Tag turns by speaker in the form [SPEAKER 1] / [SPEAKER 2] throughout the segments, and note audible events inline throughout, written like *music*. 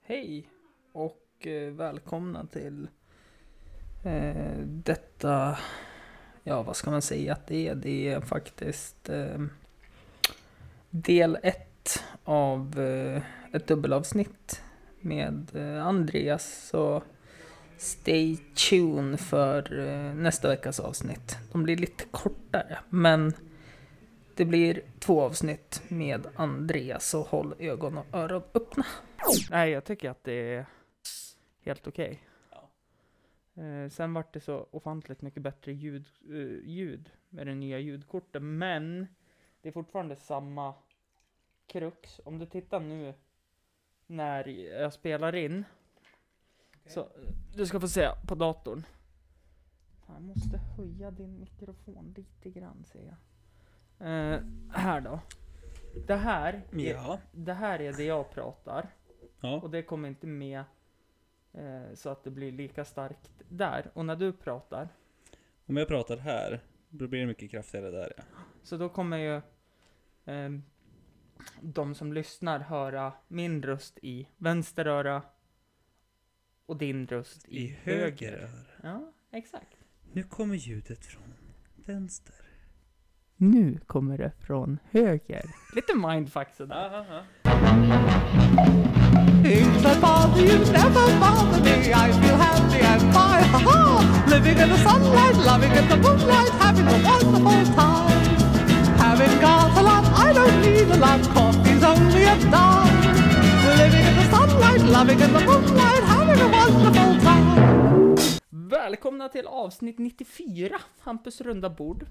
[SPEAKER 1] Hej och eh, välkomna till eh, detta, ja vad ska man säga att det är? Det är faktiskt eh, del ett av eh, ett dubbelavsnitt med eh, Andreas. Så stay tuned för eh, nästa veckas avsnitt. De blir lite kortare men det blir två avsnitt med Andreas så håll ögon och öron öppna. Nej, jag tycker att det är helt okej. Eh, sen vart det så ofantligt mycket bättre ljud, eh, ljud med det nya ljudkortet, men det är fortfarande samma krux. Om du tittar nu när jag spelar in, så eh, du ska få se på datorn. Fan, Jag måste höja din mikrofon lite grann ser jag. Eh, här då. Det här, är-
[SPEAKER 2] Ja.
[SPEAKER 1] det här är det jag pratar.
[SPEAKER 2] ja.
[SPEAKER 1] Och det kommer inte med eh, så att det blir lika starkt där. Och när du pratar,
[SPEAKER 2] Om jag pratar här, då blir det mycket kraftigare där ja.
[SPEAKER 1] så då kommer ju ehm, de som lyssnar höra min röst i vänster öra och din röst i, höger.
[SPEAKER 2] öra.
[SPEAKER 1] Ja, exakt.
[SPEAKER 2] Nu kommer ljudet från vänster.
[SPEAKER 1] Nu kommer det från höger. Lite mindfuck sådär.
[SPEAKER 3] Things that bother you never bother me. I feel happy and fine. Ha ha! Living in the sunlight, loving in the moonlight, having a wonderful time. Having got a lot, I don't need a lot. Coffee's only a dime. We're living in the sunlight, loving in the moonlight, having a wonderful time.
[SPEAKER 1] Välkomna till avsnitt 94, Hampus runda bord.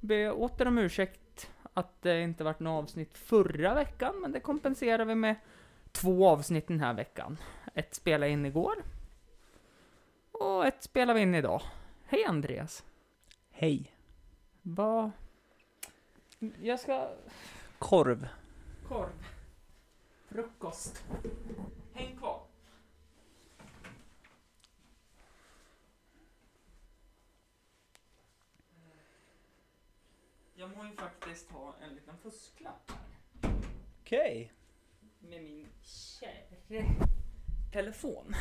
[SPEAKER 1] Be åter om ursäkt att det inte vart något avsnitt förra veckan, men det kompenserar vi med två avsnitt den här veckan. Ett spelade in igår och ett spelar vi in idag. Hej Andreas!
[SPEAKER 2] Hej.
[SPEAKER 1] Vad... Jag ska...
[SPEAKER 2] Korv.
[SPEAKER 1] Korv. Frukost. Häng kvar. Jag må ju faktiskt ha en liten fusklapp här
[SPEAKER 2] Okej.
[SPEAKER 1] med min kära telefon.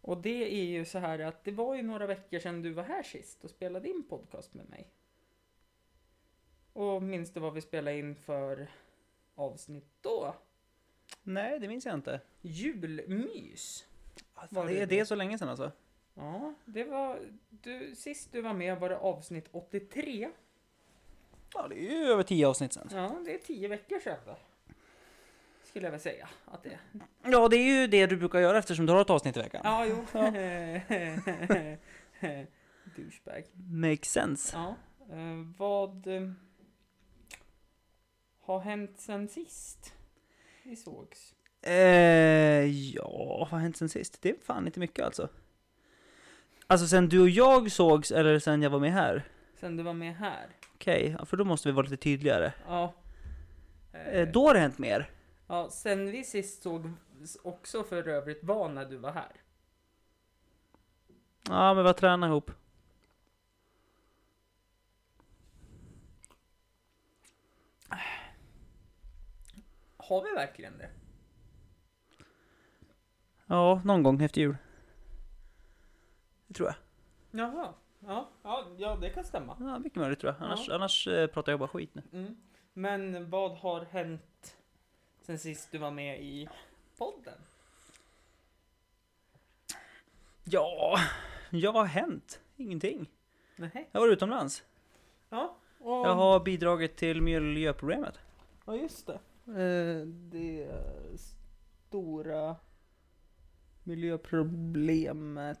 [SPEAKER 1] Och det är ju så här att det var ju några veckor sedan du var här sist och spelade in podcast med mig. Och minns du vad vi spelade in för avsnitt då?
[SPEAKER 2] Nej, det minns jag inte.
[SPEAKER 1] Julmys.
[SPEAKER 2] Ah, fan,
[SPEAKER 1] Var
[SPEAKER 2] det,
[SPEAKER 1] det
[SPEAKER 2] är
[SPEAKER 1] det?
[SPEAKER 2] det är så länge sedan alltså?
[SPEAKER 1] Ja, det var... Du, sist du var med var det avsnitt 83.
[SPEAKER 2] Ja, det är ju över tio avsnitt sedan.
[SPEAKER 1] Ja, det är tio veckor sedan. va? Skulle jag väl säga att det är.
[SPEAKER 2] Ja, det är ju det du brukar göra eftersom du har ett avsnitt i veckan.
[SPEAKER 1] Ja, jo. *laughs* Douchebag.
[SPEAKER 2] Makes sense.
[SPEAKER 1] Ja, eh, vad eh, har hänt sen sist vi sågs?
[SPEAKER 2] Eh, ja, vad har hänt sen sist? Det är fan inte mycket alltså. Alltså sen du och jag sågs eller sen jag var med här?
[SPEAKER 1] Sen du var med här?
[SPEAKER 2] Okej, ja, för då måste vi vara lite tydligare.
[SPEAKER 1] Ja.
[SPEAKER 2] Eh,
[SPEAKER 1] Eh,
[SPEAKER 2] då har det hänt mer.
[SPEAKER 1] ja, sen vi sist såg också för övrigt var när du var här.
[SPEAKER 2] Ja, men vi har tränat ihop.
[SPEAKER 1] Har vi verkligen det?
[SPEAKER 2] Ja, någon gång efter jul. Det tror jag.
[SPEAKER 1] Jaha. Ja, ja, ja det kan stämma.
[SPEAKER 2] Ja, mycket möjligt tror jag. Annars,
[SPEAKER 1] Ja.
[SPEAKER 2] annars eh, pratar jag bara skit nu.
[SPEAKER 1] Mm. Men vad har hänt sen sist du var med i podden?
[SPEAKER 2] Ja, jag har hänt? Ingenting.
[SPEAKER 1] Nej.
[SPEAKER 2] Jag var utomlands.
[SPEAKER 1] Ja.
[SPEAKER 2] Jag har bidragit till miljöproblemet.
[SPEAKER 1] Ja, just det. Eh, Det stora miljöproblemet.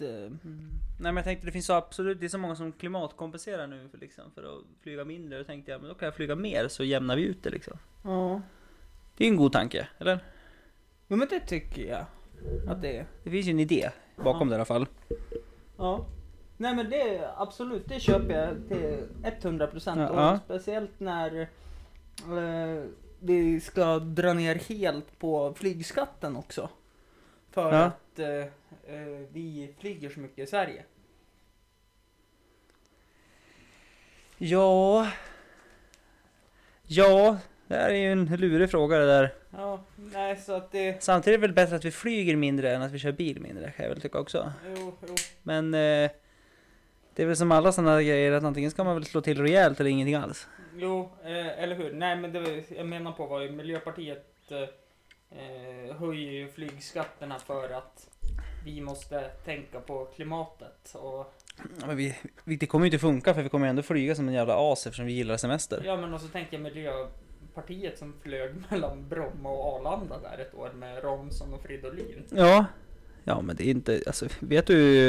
[SPEAKER 1] eh,
[SPEAKER 2] Nej men jag tänkte det finns så absolut, det är så många som klimatkompenserar nu för, liksom, för att flyga mindre. Då tänkte jag men då kan jag flyga mer så jämnar vi ut det liksom.
[SPEAKER 1] Ja.
[SPEAKER 2] Det är ju en god tanke, eller?
[SPEAKER 1] Jo, men det tycker jag att det är.
[SPEAKER 2] Det finns ju en idé bakom det i alla fall.
[SPEAKER 1] Ja. Nej men det absolut, det köper jag till 100 procent.
[SPEAKER 2] Ja.
[SPEAKER 1] Och speciellt när eh, vi ska dra ner helt på flygskatten också. För
[SPEAKER 2] Ja.
[SPEAKER 1] att eh, eh, vi flyger så mycket i Sverige.
[SPEAKER 2] Ja... Ja, Det här är ju en lurig fråga det där.
[SPEAKER 4] Ja, nej så att det...
[SPEAKER 2] Samtidigt är det väl bättre att vi flyger mindre än att vi kör bil mindre kan jag väl tycka också.
[SPEAKER 4] Jo, jo.
[SPEAKER 2] Men eh, det är väl som alla sådana grejer att antingen ska man väl slå till rejält eller ingenting alls.
[SPEAKER 4] Jo, eh, eller hur? Nej, men det var- jag menar på var ju Miljöpartiet eh, eh, höjer ju flygskatterna för att vi måste tänka på klimatet. Och,
[SPEAKER 2] Ja, Men vi, vi, det kommer ju inte funka för vi kommer ju ändå flyga som en jävla as eftersom vi gillar semester.
[SPEAKER 4] ja, men och så tänker jag Miljöpartiet som flög *laughs* mellan Bromma och Arlanda där ett år med Romson och Fridolin.
[SPEAKER 2] Ja, ja men det är inte, alltså vet du,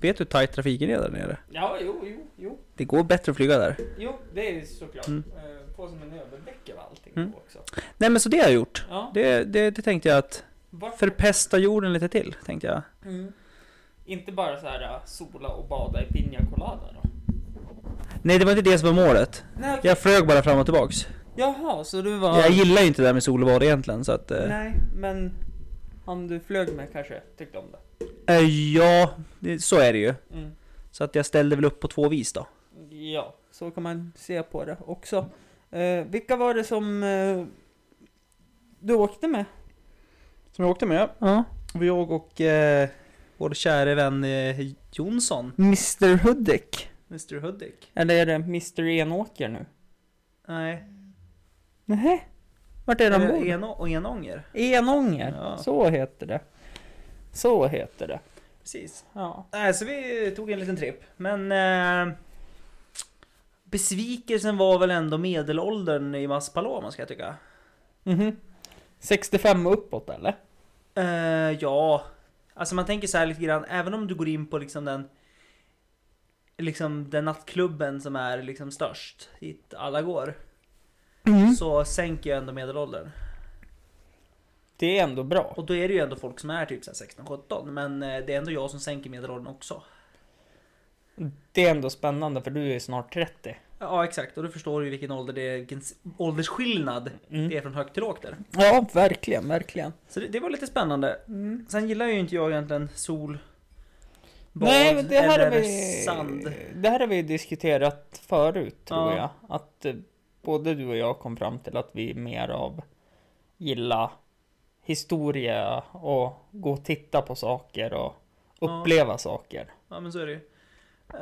[SPEAKER 2] vet du hur tajt trafiken är där nere?
[SPEAKER 4] Ja, jo, jo, jo.
[SPEAKER 2] Det går bättre att flyga där.
[SPEAKER 4] Jo, det är ju såklart.
[SPEAKER 2] Mm.
[SPEAKER 4] Eh, på som en överdäck av allting
[SPEAKER 2] Mm.
[SPEAKER 4] också.
[SPEAKER 2] Nej men så det har jag gjort.
[SPEAKER 4] Ja,
[SPEAKER 2] Det, det, det tänkte jag att
[SPEAKER 4] varför?
[SPEAKER 2] förpesta jorden lite till, tänkte jag.
[SPEAKER 4] Mm. Inte bara så här eh, sola och bada i piña colada då?
[SPEAKER 2] Nej det var inte det som var målet.
[SPEAKER 4] Nej,
[SPEAKER 2] Jag flög bara fram och tillbaks.
[SPEAKER 4] Jaha, så du var...
[SPEAKER 2] Jag gillar ju inte det där med sol och bad egentligen så att... eh,
[SPEAKER 4] Nej, men han du flög med kanske tyckte om det.
[SPEAKER 2] eh, ja, det, så är det ju.
[SPEAKER 4] Mm.
[SPEAKER 2] Så att jag ställde väl upp på två vis då.
[SPEAKER 4] Ja, så kan man se på det också. Eh, vilka var det som eh, du åkte med?
[SPEAKER 2] Som jag åkte med? Ja. Jag och eh, vår käre vän eh, Jonsson.
[SPEAKER 4] Mr Hudik.
[SPEAKER 2] Mr Hudik.
[SPEAKER 4] Eller är det Mr Enåker nu?
[SPEAKER 2] Nej.
[SPEAKER 4] Nej. Vart är de bor?
[SPEAKER 2] en, och Enånger.
[SPEAKER 4] Enånger.
[SPEAKER 2] Ja.
[SPEAKER 4] Så heter det. Så heter det.
[SPEAKER 2] Precis.
[SPEAKER 4] Ja.
[SPEAKER 2] Nej, så vi tog en liten tripp. Men... Eh, besvikelsen var väl ändå medelåldern i Maspaloma ska jag tycka.
[SPEAKER 4] Mhm. 65 och uppåt eller?
[SPEAKER 2] Eh, ja, alltså man tänker så här lite grann, även om du går in på liksom den Liksom den nattklubben som är liksom störst, dit alla går.
[SPEAKER 4] Mm.
[SPEAKER 2] Så sänker jag ändå medelåldern.
[SPEAKER 4] Det är ändå bra.
[SPEAKER 2] Och då är det ju ändå folk som är typ så här 16-17 men eh, det är ändå jag som sänker medelåldern också.
[SPEAKER 4] Det är ändå spännande för du är snart 30.
[SPEAKER 2] Ja exakt, och då förstår du ju vilken ålder det är, vilken s- åldersskillnad
[SPEAKER 4] Mm.
[SPEAKER 2] det är från högt till lågt där.
[SPEAKER 4] Ja, verkligen, verkligen.
[SPEAKER 2] Så det, det var lite spännande.
[SPEAKER 4] Mm.
[SPEAKER 2] Sen gillar ju inte jag egentligen sol, bad
[SPEAKER 4] Nej, men det här, har
[SPEAKER 2] eller
[SPEAKER 4] vi,
[SPEAKER 2] sand.
[SPEAKER 4] det här har vi diskuterat förut tror
[SPEAKER 2] Ja.
[SPEAKER 4] jag. Att eh, både du och jag kom fram till att vi är mer av gilla historia och gå och titta på saker och
[SPEAKER 2] Ja.
[SPEAKER 4] uppleva saker.
[SPEAKER 2] Ja men så är det ju.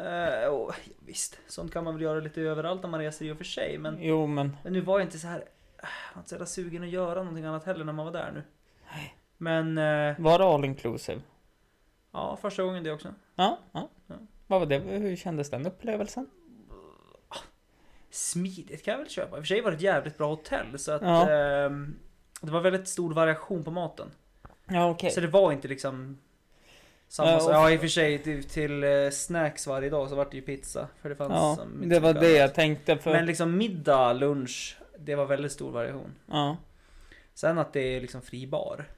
[SPEAKER 2] Eh, och, ja, visst, sånt kan man väl göra lite överallt när man reser i och för sig. Men,
[SPEAKER 4] Jo, men
[SPEAKER 2] men nu var jag inte så här, eh, jag var inte så jävla sugen att göra någonting annat heller när man var där nu. Men eh,
[SPEAKER 4] var det all inclusive?
[SPEAKER 2] ja, första gången det också.
[SPEAKER 4] Ja, ja.
[SPEAKER 2] Ja.
[SPEAKER 4] Vad var det? Hur kändes den upplevelsen?
[SPEAKER 2] Smidigt kan jag väl köpa. I och för sig var det ett jävligt bra hotell så att
[SPEAKER 4] Ja.
[SPEAKER 2] ehm, det var väldigt stor variation på maten.
[SPEAKER 4] Ja, okej.
[SPEAKER 2] Så det var inte liksom samma
[SPEAKER 4] Ja,
[SPEAKER 2] sak.
[SPEAKER 4] och-
[SPEAKER 2] Ja i och för sig till, till eh, snacks varje dag så var det ju pizza. För det fanns
[SPEAKER 4] Ja,
[SPEAKER 2] som inte
[SPEAKER 4] det var
[SPEAKER 2] mycket
[SPEAKER 4] det
[SPEAKER 2] annat.
[SPEAKER 4] jag tänkte för...
[SPEAKER 2] Men liksom middag, lunch, det var väldigt stor variation.
[SPEAKER 4] Ja, *laughs*
[SPEAKER 2] Sen att det är liksom fri bar.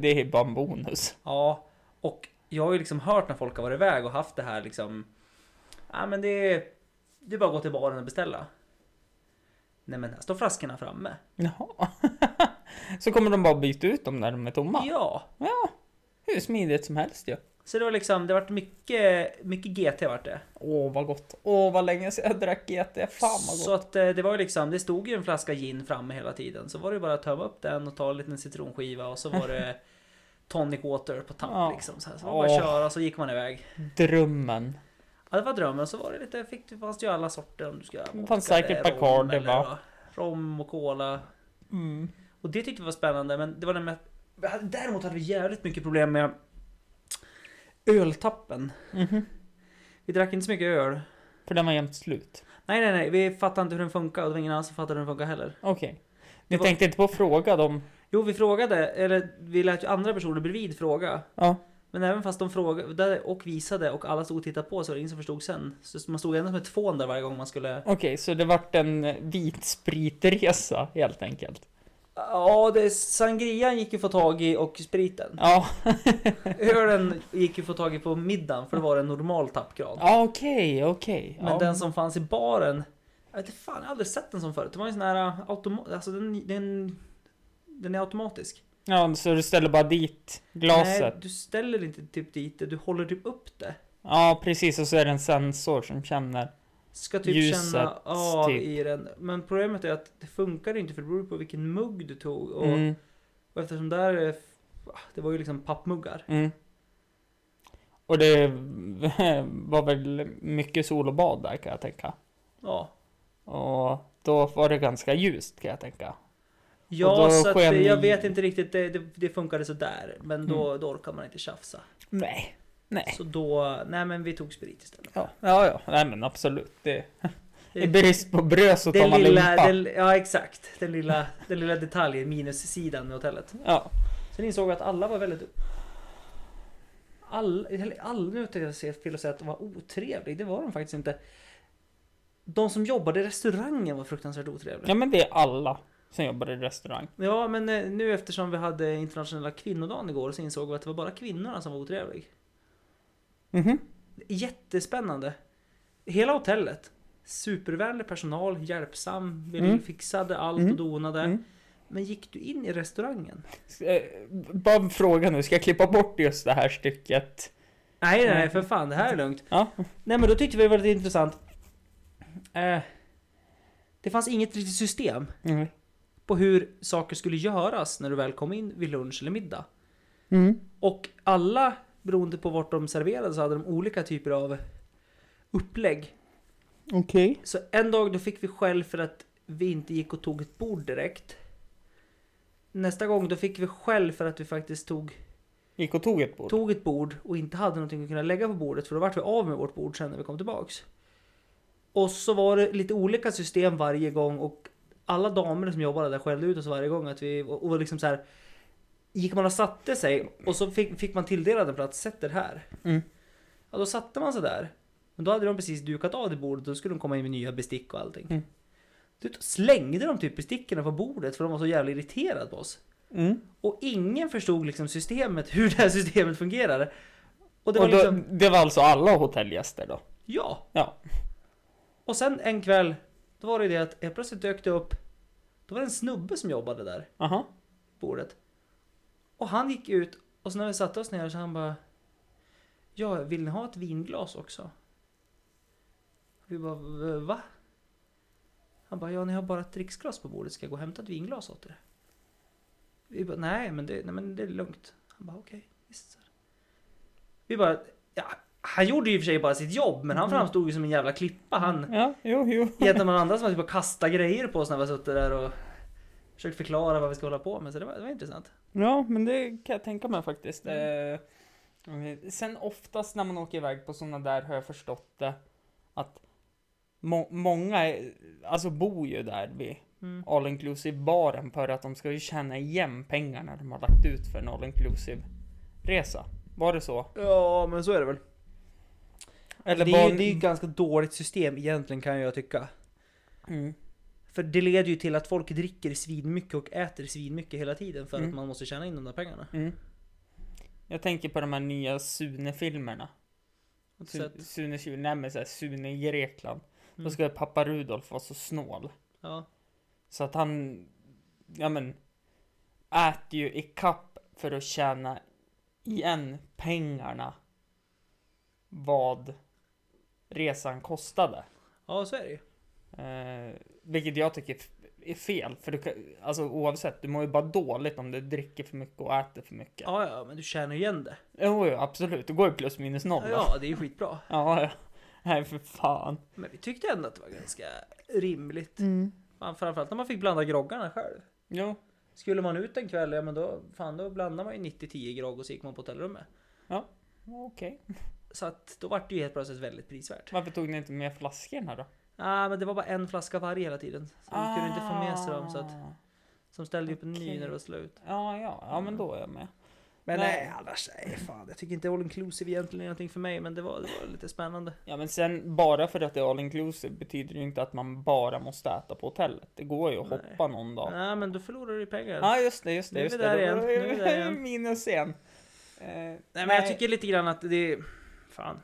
[SPEAKER 4] det är bara en bonus.
[SPEAKER 2] Ja, och jag har ju liksom hört när folk har varit iväg och haft det här liksom. Ja, men det är, det är bara att gå till baren och beställa. Nej, men här står flaskorna framme.
[SPEAKER 4] Jaha. *laughs* Så kommer de bara byta ut dem när de är tomma.
[SPEAKER 2] Ja,
[SPEAKER 4] Hur smidigt som helst ju.
[SPEAKER 2] så det var liksom. Det vart mycket, mycket GT vart det.
[SPEAKER 4] Åh vad gott. Åh vad länge sedan jag drack
[SPEAKER 1] E
[SPEAKER 4] GT. Fan vad gott.
[SPEAKER 2] Så att eh, det var ju liksom. Det stod ju en flaska gin framme hela tiden, så var det ju bara att tömma upp den och ta en liten citronskiva och så
[SPEAKER 4] *laughs*
[SPEAKER 2] var det tonic water på tapp
[SPEAKER 4] Ja.
[SPEAKER 2] liksom. Så, här. så var det bara att
[SPEAKER 4] Åh.
[SPEAKER 2] köra så gick man iväg.
[SPEAKER 4] Drömmen.
[SPEAKER 2] Ja, det var drömmen. Så var det lite, fick, det fanns ju alla sorter om du ska.
[SPEAKER 4] fanns
[SPEAKER 2] vodka
[SPEAKER 4] säkert
[SPEAKER 2] eller
[SPEAKER 4] Bacardi,
[SPEAKER 2] rom eller
[SPEAKER 4] va?
[SPEAKER 2] Rom och cola.
[SPEAKER 4] Mm.
[SPEAKER 2] Och det tyckte vi var spännande, men det var den med vi hade- Däremot hade vi jävligt mycket problem med öltappen.
[SPEAKER 4] Mhm.
[SPEAKER 2] Vi drack inte så mycket öl.
[SPEAKER 4] För den var jämt slut.
[SPEAKER 2] Nej, nej, nej, vi fattade inte hur den funkar och det var ingen annan som fattade hur den funkar heller.
[SPEAKER 4] Okej.
[SPEAKER 2] Det
[SPEAKER 4] Ni
[SPEAKER 2] var-
[SPEAKER 4] tänkte inte på att fråga dem?
[SPEAKER 2] Jo, vi frågade, eller vi lät ju andra personer bredvid fråga.
[SPEAKER 4] Ja.
[SPEAKER 2] Men även fast de frågade och visade och alla stod och tittade på så var det ingen som förstod sen. Så man stod ändå som ett fån där varje gång man skulle...
[SPEAKER 4] Okej, så det vart en vit spritresa helt enkelt.
[SPEAKER 2] Ja, det, sangrian gick ju få tag i och
[SPEAKER 4] *laughs*
[SPEAKER 2] spriten.
[SPEAKER 4] Ja,
[SPEAKER 2] Ölen gick ju få tag i på middagen för det var en normal tappgrad.
[SPEAKER 4] ja okej, okej.
[SPEAKER 2] Men
[SPEAKER 4] ja.
[SPEAKER 2] den som fanns i baren. Jag vet inte fan, jag har aldrig sett en sån förut. Det var ju en sån här automatisk, alltså den, den, den är automatisk.
[SPEAKER 4] Ja, så du ställer bara dit glaset?
[SPEAKER 2] Nej, du ställer inte typ dit det, du håller typ upp det.
[SPEAKER 4] Ja, precis. Och så är det en sensor som känner.
[SPEAKER 2] ska typ
[SPEAKER 4] Ljuset,
[SPEAKER 2] känna av
[SPEAKER 4] typ.
[SPEAKER 2] i den. Men problemet är att det funkar inte för det beror på vilken mugg du tog. Och,
[SPEAKER 4] Mm,
[SPEAKER 2] och eftersom där är, f- ah, det var ju liksom pappmuggar.
[SPEAKER 4] mm. Och det *laughs* var väl mycket sol och bad där kan jag tänka.
[SPEAKER 2] Ja.
[SPEAKER 4] Och då var det ganska ljust kan jag tänka.
[SPEAKER 2] Ja,
[SPEAKER 4] då
[SPEAKER 2] så att,
[SPEAKER 4] sken-
[SPEAKER 2] det- jag vet inte riktigt. Det, det, det funkade sådär. Men då, då orkar man inte tjafsa.
[SPEAKER 4] Nej. Nej.
[SPEAKER 2] Så då, nej men vi tog sprit istället.
[SPEAKER 4] Ja, ja, ja. Nej men absolut. Det,
[SPEAKER 2] Det-
[SPEAKER 4] I brist på bröd så tar
[SPEAKER 2] Den
[SPEAKER 4] man
[SPEAKER 2] lilla,
[SPEAKER 4] limpa.
[SPEAKER 2] den, ja exakt. Den lilla, den lilla detaljen, minussidan med hotellet.
[SPEAKER 4] Ja.
[SPEAKER 2] Sen insåg jag att alla var väldigt... All, eller all, nu tycker jag ser fel att säga att de var otrevliga. Det var de faktiskt inte. De som jobbade i restaurangen var fruktansvärt
[SPEAKER 4] ja,
[SPEAKER 2] otrevliga.
[SPEAKER 4] men det är alla som jobbar i restaurang.
[SPEAKER 2] Ja, men eh, nu eftersom vi hade internationella kvinnodagen igår så insåg vi att det var bara kvinnorna som var otrevliga.
[SPEAKER 4] Mhm.
[SPEAKER 2] Jättespännande. Hela hotellet. Supervänlig personal, hjälpsam,
[SPEAKER 4] Mm.
[SPEAKER 2] fixade allt
[SPEAKER 4] Mm.
[SPEAKER 2] och donade.
[SPEAKER 4] Mm.
[SPEAKER 2] Men gick du in i restaurangen?
[SPEAKER 4] Eh, Bara en fråga nu, ska jag klippa bort just det här stycket?
[SPEAKER 2] Nej, nej, nej, för fan, det här är lugnt.
[SPEAKER 4] Ja.
[SPEAKER 2] Nej, men då tyckte vi det var lite intressant. Eh, det fanns inget riktigt system
[SPEAKER 4] Mm.
[SPEAKER 2] på hur saker skulle göras när du väl kom in vid lunch eller middag.
[SPEAKER 4] Mm.
[SPEAKER 2] Och alla, beroende på vart de serverade, så hade de olika typer av upplägg.
[SPEAKER 4] Okej.
[SPEAKER 2] Så en dag då fick vi skäll för att vi inte gick och tog ett bord direkt. Nästa gång då fick vi skäll för att vi faktiskt tog,
[SPEAKER 4] Gick och tog ett bord.
[SPEAKER 2] tog ett bord och inte hade någonting att kunna lägga på bordet för då vart vi av med vårt bord sen när vi kom tillbaks. Och så var det lite olika system varje gång och alla damer som jobbade där skällde ut oss varje gång att vi och och liksom så här. Gick man och satte sig och så fick, fick man tilldelad en plats, sätt er här.
[SPEAKER 4] Mm.
[SPEAKER 2] Ja, då satte man sig där. Men då hade de precis dukat av det bordet och då skulle de komma in med nya bestick och allting.
[SPEAKER 4] Mm.
[SPEAKER 2] Då slängde de typ bestickerna på bordet för de var så jävla irriterade på oss.
[SPEAKER 4] Mm.
[SPEAKER 2] Och ingen förstod liksom systemet, *laughs* hur det här systemet fungerade. Och det var
[SPEAKER 4] och då,
[SPEAKER 2] liksom,
[SPEAKER 4] det var alltså alla hotellgäster då?
[SPEAKER 2] ja.
[SPEAKER 4] Ja.
[SPEAKER 2] Och sen en kväll, då var det det att helt plötsligt dök det upp, då var det en snubbe som jobbade där,
[SPEAKER 4] Aha.
[SPEAKER 2] bordet. Och han gick ut och sen när vi satte oss ner så han bara, ja vill ni ha ett vinglas också? Vi bara, "V- va? Han bara, ja ni har bara ett dricksglas på bordet, ska jag gå och hämta ett vinglas åt er? Vi bara, nej men det, nej, men det är lugnt. Han bara, okej, visst. sir." Vi bara, ja, han gjorde ju i och för sig bara sitt jobb, men han framstod ju som en jävla klippa han.
[SPEAKER 4] Ja, jo, jo.
[SPEAKER 2] Gentemot de andra som hade typ kastat grejer på oss när vi suttit där och försökt förklara vad vi ska hålla på med, så det var, det var intressant.
[SPEAKER 4] Ja, men det kan jag tänka mig faktiskt. Eh, sen oftast när man åker iväg på sådana där har jag förstått det att må- många är, alltså bor ju där vid
[SPEAKER 2] Mm.
[SPEAKER 4] all inclusive baren för att de ska ju tjäna igen pengarna de har lagt ut för en all inclusive resa. Var det så?
[SPEAKER 2] Ja, men så är det väl.
[SPEAKER 4] Eller
[SPEAKER 2] det, är, ju-
[SPEAKER 4] var-
[SPEAKER 2] det är ju ett ganska dåligt system egentligen kan jag tycka.
[SPEAKER 4] Mm.
[SPEAKER 2] För det leder ju till att folk dricker svinmycket och äter svinmycket hela tiden för att
[SPEAKER 4] Mm.
[SPEAKER 2] man måste tjäna in de där pengarna.
[SPEAKER 4] Mm. Jag tänker på de här nya Sune-filmerna.
[SPEAKER 2] Så att,
[SPEAKER 4] Su- Sune 20, nej men så här, Sune i Grekland. Då
[SPEAKER 2] Mm.
[SPEAKER 4] ska pappa Rudolf vara så snål.
[SPEAKER 2] ja.
[SPEAKER 4] Så att han, ja men, äter ju i kapp för att tjäna igen pengarna vad resan kostade.
[SPEAKER 2] ja, så är det ju.
[SPEAKER 4] Eh, vilket jag tycker f- är fel, för du kan, alltså oavsett, du mår ju bara dåligt om du dricker för mycket och äter för mycket.
[SPEAKER 2] Ja, ja, men du tjänar ju igen det.
[SPEAKER 4] Jo, jo, absolut, det går ju plus minus noll.
[SPEAKER 2] Ja,
[SPEAKER 4] då.
[SPEAKER 2] ja, det är ju skitbra.
[SPEAKER 4] ja, ja. Nej, för fan.
[SPEAKER 2] Men vi tyckte ändå att det var ganska rimligt. Fan, framförallt när man fick blanda groggarna själv.
[SPEAKER 4] Jo,
[SPEAKER 2] Skulle man ut en kväll, ja men då, fan, då blandade man ju 90-10 grogg och så gick man på hotellrummet.
[SPEAKER 4] okej.
[SPEAKER 2] Så att då vart det ju helt plötsligt väldigt prisvärt.
[SPEAKER 4] Varför tog ni inte med flaskorna då?
[SPEAKER 2] Nej, men det var bara en flaska varje hela tiden. Så de kunde inte få med sig dem. Så att,
[SPEAKER 4] Ah.
[SPEAKER 2] som ställde upp en ny
[SPEAKER 4] Okej.
[SPEAKER 2] när det var slut.
[SPEAKER 4] Ah, Ja, ja, ja men då är jag med.
[SPEAKER 2] Men eh, nej,
[SPEAKER 4] Nej.
[SPEAKER 2] annars, nej fan. Jag tycker inte all inclusive egentligen är någonting för mig. Men det var, det var lite spännande.
[SPEAKER 4] Ja men sen bara för att det är all inclusive betyder det ju inte att man bara måste äta på hotellet. Det går ju att
[SPEAKER 2] Nej.
[SPEAKER 4] hoppa någon dag.
[SPEAKER 2] Nej, men då förlorar du ju pengar.
[SPEAKER 4] Ja just det, just
[SPEAKER 2] Nu
[SPEAKER 4] det.
[SPEAKER 2] är
[SPEAKER 4] Just
[SPEAKER 2] vi där
[SPEAKER 4] det.
[SPEAKER 2] igen.
[SPEAKER 4] Då-
[SPEAKER 2] Nu är vi där
[SPEAKER 4] *laughs*
[SPEAKER 2] igen.
[SPEAKER 4] Minus igen. Eh,
[SPEAKER 2] nej, men jag tycker lite grann att det... Fan.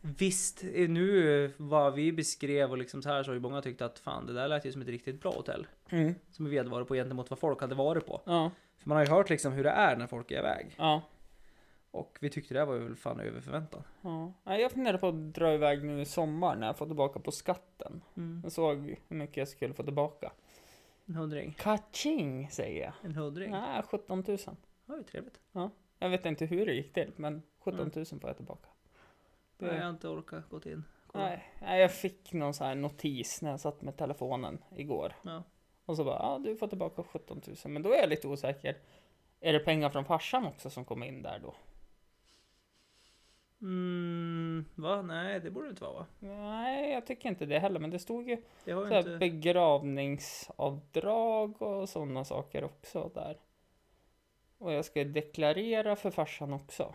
[SPEAKER 2] Visst, eh, nu eh, vad vi beskrev och liksom så här så har ju många tyckt att fan det där lät ju som ett riktigt bra hotell.
[SPEAKER 4] Mm.
[SPEAKER 2] Som vi hade varit på gentemot vad folk hade varit på.
[SPEAKER 4] Ja,
[SPEAKER 2] För man har ju hört liksom hur det är när folk är iväg.
[SPEAKER 4] ja.
[SPEAKER 2] Och vi tyckte det här var väl fan över förväntan.
[SPEAKER 4] Ja. Nej, Jag funderar på att dra iväg nu i sommar när jag får tillbaka på skatten. Jag såg hur mycket jag skulle få tillbaka.
[SPEAKER 2] En hundring.
[SPEAKER 4] Kaching säger jag.
[SPEAKER 2] En hundring? Ja.
[SPEAKER 4] Nej, 17 000.
[SPEAKER 2] Det var ju trevligt.
[SPEAKER 4] Jag vet inte hur det gick till, men 17
[SPEAKER 2] Mm.
[SPEAKER 4] 000 får jag tillbaka. Det-
[SPEAKER 2] Nej, jag har inte orkat gå in. kolla.
[SPEAKER 4] Nej, nej, jag fick någon sån här notis när jag satt med telefonen igår.
[SPEAKER 2] Ja.
[SPEAKER 4] Och så bara, ja du får tillbaka 17 000. Men då är jag lite osäker. Är det pengar från farsan också som kom in där då?
[SPEAKER 2] Mm, va? Nej, det borde det inte vara va?
[SPEAKER 4] Nej, jag tycker inte det heller. Men det stod ju
[SPEAKER 2] Det har
[SPEAKER 4] så
[SPEAKER 2] ju
[SPEAKER 4] här
[SPEAKER 2] inte...
[SPEAKER 4] begravningsavdrag och sådana saker också där. Och jag ska ju deklarera för farsan också.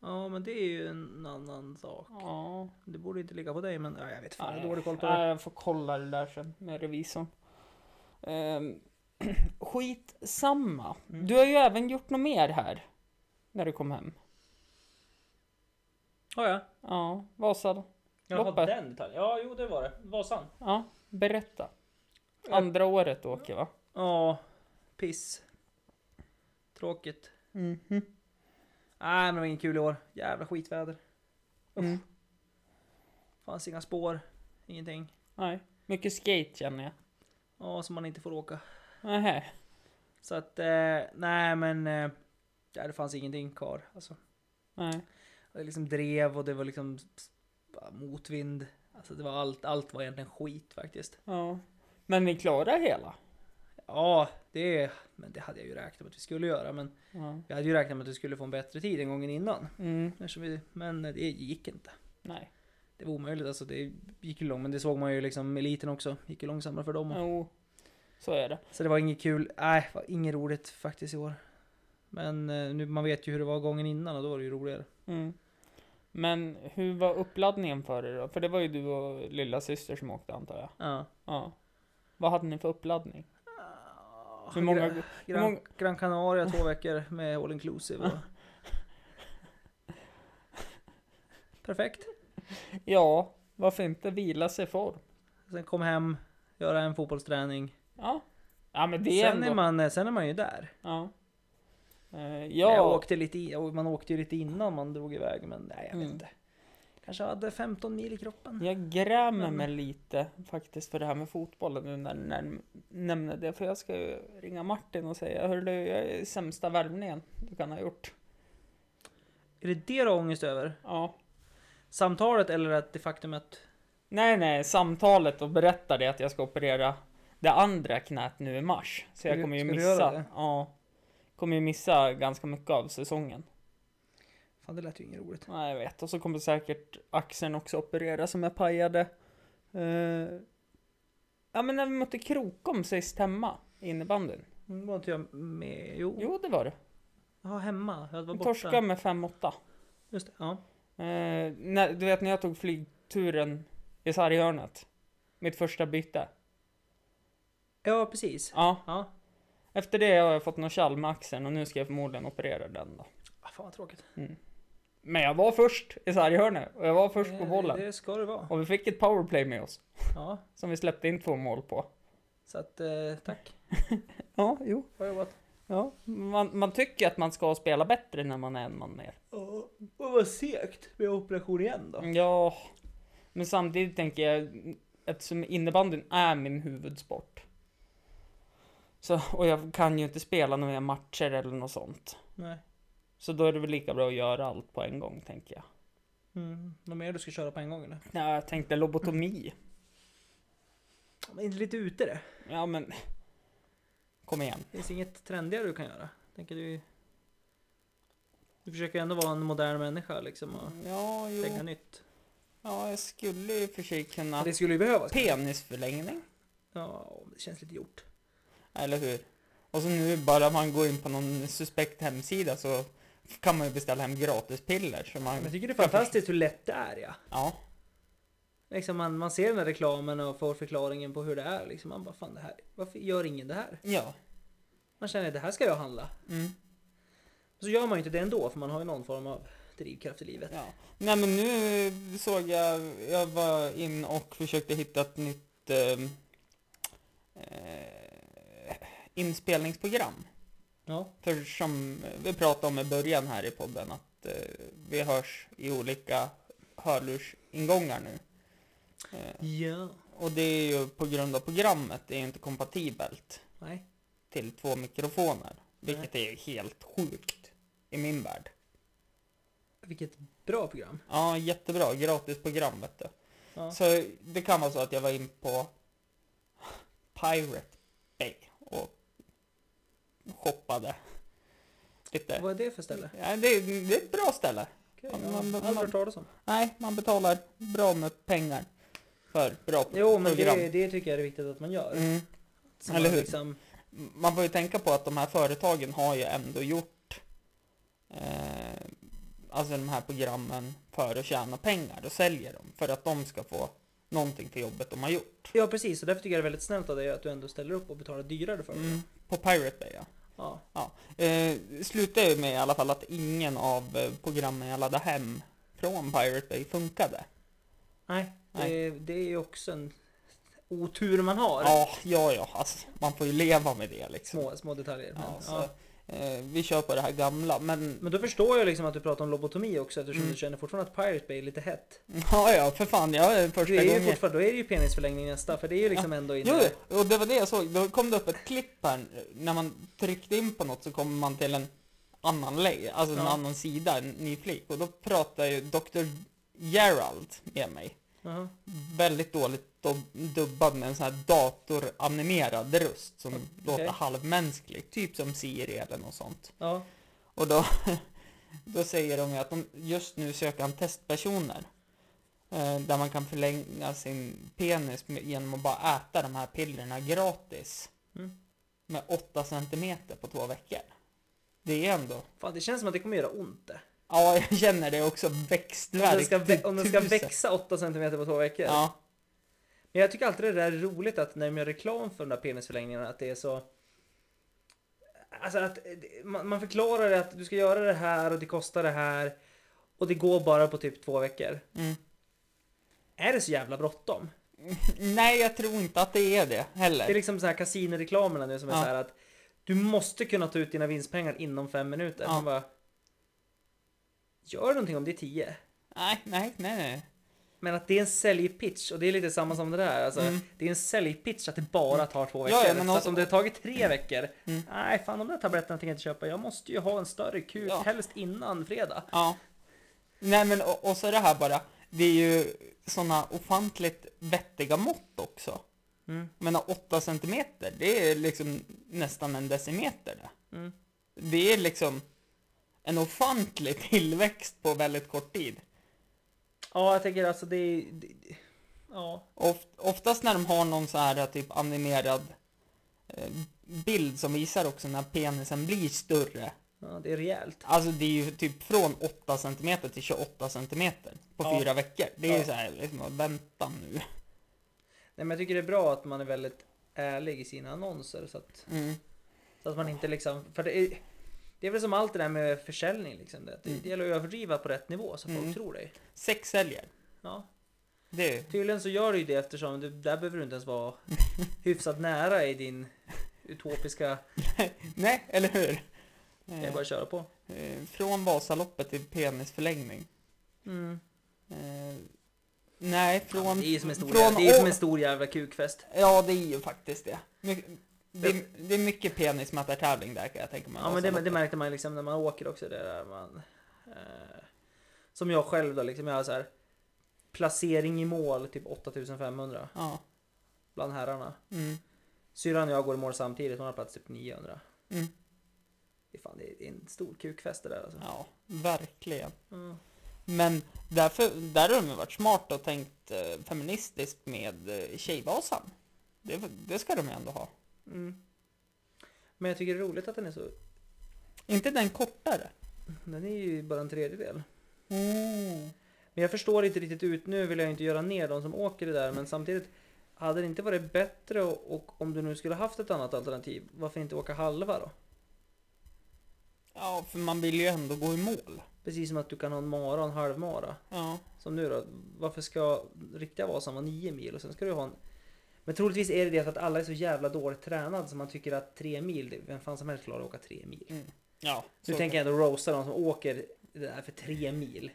[SPEAKER 2] Ja, men det är ju en annan sak.
[SPEAKER 4] Ja.
[SPEAKER 2] Det borde inte ligga på dig, men ja, jag vet fan, jag har
[SPEAKER 4] Nej.
[SPEAKER 2] dålig koll på
[SPEAKER 4] Nej,
[SPEAKER 2] det.
[SPEAKER 4] Jag får kolla det där sen med revisorn. Um, *clears throat* skitsamma.
[SPEAKER 2] Mm.
[SPEAKER 4] Du har ju även gjort något mer här. När du kom hem.
[SPEAKER 2] Ja, ja.
[SPEAKER 4] Ja, Vasa.
[SPEAKER 2] Jaha,
[SPEAKER 4] Loppet.
[SPEAKER 2] den detaljen. Ja, jo, det var det. Vasan.
[SPEAKER 4] Ja, berätta.
[SPEAKER 2] Ja.
[SPEAKER 4] Andra året du åker va?
[SPEAKER 2] Ja, piss. Tråkigt.
[SPEAKER 4] Mhm.
[SPEAKER 2] Nej, men det var ingen kul i år. Jävla skitväder.
[SPEAKER 4] Mm.
[SPEAKER 2] Fanns inga spår. Ingenting.
[SPEAKER 4] Nej, mycket skate känner jag.
[SPEAKER 2] Ja, som man inte får åka.
[SPEAKER 4] Nähä.
[SPEAKER 2] Så att, eh, nej men. Eh, ja, det fanns ingenting kvar. Alltså,
[SPEAKER 4] Nej.
[SPEAKER 2] det liksom drev och det var liksom s- bara motvind. Alltså det var allt, allt var egentligen skit faktiskt.
[SPEAKER 4] Ja. Men ni klarar hela?
[SPEAKER 2] Ja, det, men det hade jag ju räknat med att vi skulle göra. Men
[SPEAKER 4] Ja.
[SPEAKER 2] vi hade ju räknat med att vi skulle få en bättre tid en gången innan.
[SPEAKER 4] Mm.
[SPEAKER 2] Eftersom vi, men det gick inte.
[SPEAKER 4] Nej.
[SPEAKER 2] Det var omöjligt alltså. Det gick ju långt, men det såg man ju liksom eliten också. gick ju långsammare för dem.
[SPEAKER 4] Jo. Så är det.
[SPEAKER 2] Så det var inget kul. Nej, det var inget roligt faktiskt i år. Men eh, nu, man vet ju hur det var gången innan och då var det ju roligare.
[SPEAKER 4] Mm. Men hur var uppladdningen för er då? För det var ju du och lilla syster som åkte antar jag.
[SPEAKER 2] Ja.
[SPEAKER 4] Ja. Vad hade ni för uppladdning?
[SPEAKER 2] Ah,
[SPEAKER 4] Hur många...
[SPEAKER 2] Gran,
[SPEAKER 4] hur många-
[SPEAKER 2] Gran, Gran Canaria två veckor med all inclusive. Och...
[SPEAKER 4] *laughs*
[SPEAKER 2] Perfekt.
[SPEAKER 4] Ja, varför inte vila sig i form?
[SPEAKER 2] Sen kom hem, göra en fotbollsträning.
[SPEAKER 4] Ja. Ja men det är
[SPEAKER 2] Sen
[SPEAKER 4] ändå...
[SPEAKER 2] är, man, eh, sen är man ju där.
[SPEAKER 4] Ja. Eh,
[SPEAKER 2] Jag
[SPEAKER 4] ja.
[SPEAKER 2] åkte lite, i- och man åkte ju lite innan man drog iväg, men nej jag vet
[SPEAKER 4] Mm.
[SPEAKER 2] inte. Kanske hade 15 mil i kroppen.
[SPEAKER 4] Jag grämer
[SPEAKER 2] Men-
[SPEAKER 4] mig lite faktiskt för det här med fotbollen nu när du näm- nämner det. För jag ska ju ringa Martin och säga Hörru jag är i sämsta värvningen du kan ha gjort.
[SPEAKER 2] Är det det du har ångest över?
[SPEAKER 4] Ja.
[SPEAKER 2] Samtalet eller att det faktum att...
[SPEAKER 4] Nej nej, samtalet och berätta det att jag ska operera det andra knät nu i mars. Så
[SPEAKER 2] Ska
[SPEAKER 4] jag
[SPEAKER 2] du-
[SPEAKER 4] kommer ju
[SPEAKER 2] ska du
[SPEAKER 4] missa.
[SPEAKER 2] göra det?
[SPEAKER 4] Ja. Kommer ju missa ganska mycket av säsongen.
[SPEAKER 2] Fan det lät ju inget roligt.
[SPEAKER 4] Nej jag vet. Och så kommer säkert axeln också opereras som jag pajade. Eh, ja men när vi mötte Krokom sist hemma i innebandyn.
[SPEAKER 2] Mm, Var inte jag med? Jo.
[SPEAKER 4] Jo det var det.
[SPEAKER 2] Jaha, hemma. Jag var borta.
[SPEAKER 4] Torska med 5-8.
[SPEAKER 2] Just det, ja.
[SPEAKER 4] Eh, när, du vet när jag tog flygturen i sarghörnet. Mitt första byte.
[SPEAKER 2] Ja, precis.
[SPEAKER 4] Ja,
[SPEAKER 2] Ja.
[SPEAKER 4] efter det har jag fått någon kall med axeln och nu ska jag förmodligen operera den då. Mm.
[SPEAKER 2] Ah, fan vad tråkigt.
[SPEAKER 4] Men jag var först i sarghörnet och jag var först på
[SPEAKER 2] Det-
[SPEAKER 4] bollen.
[SPEAKER 2] Eh, Det ska det vara.
[SPEAKER 4] Och vi fick ett powerplay med oss.
[SPEAKER 2] Ja.
[SPEAKER 4] Som vi släppte in två mål på.
[SPEAKER 2] Så att, eh, tack.
[SPEAKER 4] Ja, jo.
[SPEAKER 2] Bra jobbat.
[SPEAKER 4] Ja. Man, man tycker att man ska spela bättre när man är en man mer.
[SPEAKER 2] Oh, vad segt med operation igen då.
[SPEAKER 4] Ja. Men samtidigt tänker jag, eftersom innebandyn är min huvudsport. Så, och jag kan ju inte spela några matcher eller något sånt.
[SPEAKER 2] Nej.
[SPEAKER 4] Så då är det väl lika bra att göra allt på en gång, tänker jag.
[SPEAKER 2] Mm. Något mer du ska köra på en gång eller?
[SPEAKER 4] Ja, jag tänkte lobotomi.
[SPEAKER 2] Men inte lite ute det.
[SPEAKER 4] Ja, men... Kom igen.
[SPEAKER 2] Finns inget trendigare du kan göra? Tänker du... Du försöker ändå vara en modern människa liksom och
[SPEAKER 4] Ja,
[SPEAKER 2] tänka
[SPEAKER 4] jo.
[SPEAKER 2] nytt.
[SPEAKER 4] Ja, jag skulle ju i och för sig kunna...
[SPEAKER 2] Mm. Det skulle ju behövas.
[SPEAKER 4] Penisförlängning.
[SPEAKER 2] Ja, det känns lite gjort.
[SPEAKER 4] Eller hur? Och så nu bara man går in på någon suspekt hemsida så kan man ju beställa hem gratispiller. Så man...
[SPEAKER 2] Jag tycker det är fantastiskt hur lätt det är ja.
[SPEAKER 4] Ja.
[SPEAKER 2] Liksom man, man ser den här reklamen och får förklaringen på hur det är. Liksom man bara fan det här, varför gör ingen det här?
[SPEAKER 4] Ja.
[SPEAKER 2] Man känner det här ska jag handla.
[SPEAKER 4] Mm.
[SPEAKER 2] Så gör man ju inte det ändå för man har ju någon form av drivkraft i livet.
[SPEAKER 4] ja. Nej men nu såg jag, jag var in och försökte hitta ett nytt ehm, eh, eh, inspelningsprogram.
[SPEAKER 2] Ja.
[SPEAKER 4] För som vi pratade om i början här i podden att eh, vi hörs i olika hörlursingångar nu. Eh,
[SPEAKER 2] Ja.
[SPEAKER 4] och det är ju på grund av programmet, det är inte kompatibelt
[SPEAKER 2] Nej.
[SPEAKER 4] till två mikrofoner. Vilket är ju helt sjukt i min värld.
[SPEAKER 2] Vilket bra program.
[SPEAKER 4] Ja, jättebra. Gratis program vet du.
[SPEAKER 2] Ja.
[SPEAKER 4] Så det kan vara så att jag var in på Pirate Bay och shoppade lite.
[SPEAKER 2] Vad är det för ställe?
[SPEAKER 4] Ja, det, det är ett bra ställe.
[SPEAKER 2] Okej,
[SPEAKER 4] Ja,
[SPEAKER 2] jag har
[SPEAKER 4] men-
[SPEAKER 2] aldrig hört talas om.
[SPEAKER 4] Nej, man betalar bra med pengar för bra
[SPEAKER 2] Jo, men
[SPEAKER 4] program.
[SPEAKER 2] det, det tycker jag är viktigt att man gör.
[SPEAKER 4] Mm.
[SPEAKER 2] Så
[SPEAKER 4] eller
[SPEAKER 2] man
[SPEAKER 4] hur?
[SPEAKER 2] Liksom,
[SPEAKER 4] Man får ju tänka på att de här företagen har ju ändå gjort eh, alltså de här programmen för att tjäna pengar och säljer dem för att de ska få någonting för jobbet de har gjort.
[SPEAKER 2] ja, precis. Och därför tycker jag det är väldigt snällt av dig att du ändå ställer upp och betalar dyrare för det.
[SPEAKER 4] Mm. På Pirate Bay ja.
[SPEAKER 2] Ja.
[SPEAKER 4] Eh, slutade ju med i alla fall att ingen av eh, programmen jag laddade hem från Pirate Bay funkade.
[SPEAKER 2] Nej, det,
[SPEAKER 4] Nej.
[SPEAKER 2] det är ju också en otur man har.
[SPEAKER 4] Ja, ja, ja, alltså, man får ju leva med det liksom.
[SPEAKER 2] Små, små detaljer. Men,
[SPEAKER 4] Ja, så,
[SPEAKER 2] ja.
[SPEAKER 4] eh, vi kör på det här gamla, men
[SPEAKER 2] men då förstår jag liksom att du pratar om lobotomi också eftersom
[SPEAKER 4] Mm.
[SPEAKER 2] du känner fortfarande att Pirate Bay är lite hett.
[SPEAKER 4] ja, ja, för fan, jag är första
[SPEAKER 2] Det är ju
[SPEAKER 4] gången.
[SPEAKER 2] fortfarande, då är det ju penisförlängning nästa för det är ju liksom ändå
[SPEAKER 4] Jo,
[SPEAKER 2] inte...
[SPEAKER 4] och det var det jag såg. Då kom det upp ett klipp här. När man tryckte in på något så kommer man till en annan lay, alltså en
[SPEAKER 2] Ja.
[SPEAKER 4] annan sida, en ny flik. Och då pratar ju Dr. Gerald med mig.
[SPEAKER 2] Jaha.
[SPEAKER 4] väldigt dåligt dub- dubbad med en sån här datoranimerad röst som låter halvmänsklig, typ som Siri eller något sånt.
[SPEAKER 2] Ja.
[SPEAKER 4] Och då, *laughs* då säger de ju att de just nu söker han testpersoner eh, där man kan förlänga sin penis med, genom att bara äta de här pillerna gratis
[SPEAKER 2] Mm.
[SPEAKER 4] med 8 centimeter på två veckor. Det är ändå,
[SPEAKER 2] Fan, det känns som att det kommer göra ont det.
[SPEAKER 4] ja jag känner det också,
[SPEAKER 2] Om
[SPEAKER 4] växtvärk
[SPEAKER 2] den ska, vä-
[SPEAKER 4] till
[SPEAKER 2] om den ska
[SPEAKER 4] tusen.
[SPEAKER 2] växa 8 cm på två veckor.
[SPEAKER 4] Ja, *laughs*
[SPEAKER 2] Men jag tycker alltid det där är roligt att när de gör reklam för de där penisförlängningarna att det är så... Alltså att det- man, man förklarar det att du ska göra det här och det kostar det här. Och det går bara på typ två veckor.
[SPEAKER 4] Mm.
[SPEAKER 2] Är det så jävla bråttom?
[SPEAKER 4] nej jag tror inte att det är det heller.
[SPEAKER 2] Det är liksom så här kasinoreklamerna nu som är
[SPEAKER 4] Ja.
[SPEAKER 2] så här att du måste kunna ta ut dina vinstpengar inom fem minuter.
[SPEAKER 4] Ja.
[SPEAKER 2] Man bara, gör någonting om det är tio.
[SPEAKER 4] Nej, nej, nej, nej.
[SPEAKER 2] Men att det är en säljpitch och det är lite samma som det där. Alltså,
[SPEAKER 4] Mm.
[SPEAKER 2] Det är en säljpitch att det bara tar två veckor.
[SPEAKER 4] Ja, ja, men
[SPEAKER 2] så att
[SPEAKER 4] alltså-
[SPEAKER 2] om det har tagit tre veckor.
[SPEAKER 4] Mm.
[SPEAKER 2] Nej, fan de där tabletterna tänker jag inte köpa. Jag måste ju ha en större kuk,
[SPEAKER 4] Ja.
[SPEAKER 2] helst innan fredag.
[SPEAKER 4] Ja. Nej, men och, och så det här bara. Det är ju sådana ofantligt vettiga mått också.
[SPEAKER 2] Mm.
[SPEAKER 4] Jag menar 8 centimeter, det är liksom nästan en decimeter det.
[SPEAKER 2] Mm.
[SPEAKER 4] Det är liksom en ofantlig *laughs* tillväxt på väldigt kort tid.
[SPEAKER 2] Ja, jag tänker alltså det är... det- Ja.
[SPEAKER 4] Oft, oftast när de har någon så här typ animerad eh, bild som visar också när penisen blir större.
[SPEAKER 2] ja, det är rejält.
[SPEAKER 4] Alltså det är ju typ från 8 cm till 28 cm på
[SPEAKER 2] Ja.
[SPEAKER 4] fyra veckor. Det är ju
[SPEAKER 2] Ja.
[SPEAKER 4] så här liksom, vänta nu.
[SPEAKER 2] Nej, men jag tycker det är bra att man är väldigt ärlig i sina annonser. Så att,
[SPEAKER 4] Mm.
[SPEAKER 2] så att man inte liksom... För det är, det är väl som allt det där med försäljning. Liksom, det, det, det gäller att överdriva på rätt nivå så folk
[SPEAKER 4] Mm.
[SPEAKER 2] tror dig.
[SPEAKER 4] Sex säljer.
[SPEAKER 2] Ja.
[SPEAKER 4] Det är ju...
[SPEAKER 2] Tydligen så gör du ju det eftersom du, där behöver du inte
[SPEAKER 4] *laughs*
[SPEAKER 2] ens vara hyfsat nära i din utopiska...
[SPEAKER 4] Nej, eller hur?
[SPEAKER 2] Det är bara att köra på.
[SPEAKER 4] Eh, Från Vasaloppet till penisförlängning.
[SPEAKER 2] Mm.
[SPEAKER 4] Eh, nej,
[SPEAKER 2] Från,
[SPEAKER 4] från...
[SPEAKER 2] det är ju som en stor,
[SPEAKER 4] från
[SPEAKER 2] jävla, det är ju som
[SPEAKER 4] å-
[SPEAKER 2] en stor jävla kukfest.
[SPEAKER 4] Ja, det är ju faktiskt det. My- Det är, det är mycket penismätartävling där kan jag tänka mig.
[SPEAKER 2] Ja men det, det
[SPEAKER 4] Vasaloppet.
[SPEAKER 2] märkte man liksom när man åker också. Det där man, eh, som jag själv då liksom, jag har så här placering i mål typ 8500
[SPEAKER 4] Ja.
[SPEAKER 2] bland herrarna.
[SPEAKER 4] Mm.
[SPEAKER 2] Syrran och jag går i mål samtidigt, hon har plats typ 900.
[SPEAKER 4] Mm.
[SPEAKER 2] Det är fan, det är en stor kukfest det där alltså.
[SPEAKER 4] ja, verkligen.
[SPEAKER 2] Mm.
[SPEAKER 4] Men därför, där har de ju varit smarta och tänkt eh, feministiskt med eh, Tjejvasan. Det, det ska de ju ändå ha.
[SPEAKER 2] Mm. Men jag tycker det är roligt att den är så
[SPEAKER 4] Inte den kortare.
[SPEAKER 2] Den är ju bara en tredjedel.
[SPEAKER 4] Mm.
[SPEAKER 2] Men jag förstår inte riktigt ut, nu vill jag inte göra ner de som åker det där men samtidigt hade det inte varit bättre och, och om du nu skulle haft ett annat alternativ, varför inte åka halva då?
[SPEAKER 4] Ja, för man vill ju ändå gå i mål.
[SPEAKER 2] Precis som att du kan ha en mara och en halvmara.
[SPEAKER 4] Ja.
[SPEAKER 2] Som nu då, varför ska riktiga Vasan vara 9 mil och sen ska du ha en Men troligtvis är det det att alla är så jävla dåligt tränade så man tycker att tre mil, det- vem fan som helst klarar att åka tre mil.
[SPEAKER 4] Ja,
[SPEAKER 2] Nu
[SPEAKER 4] så-
[SPEAKER 2] tänker jag ändå roasta de som åker det där för tre mil.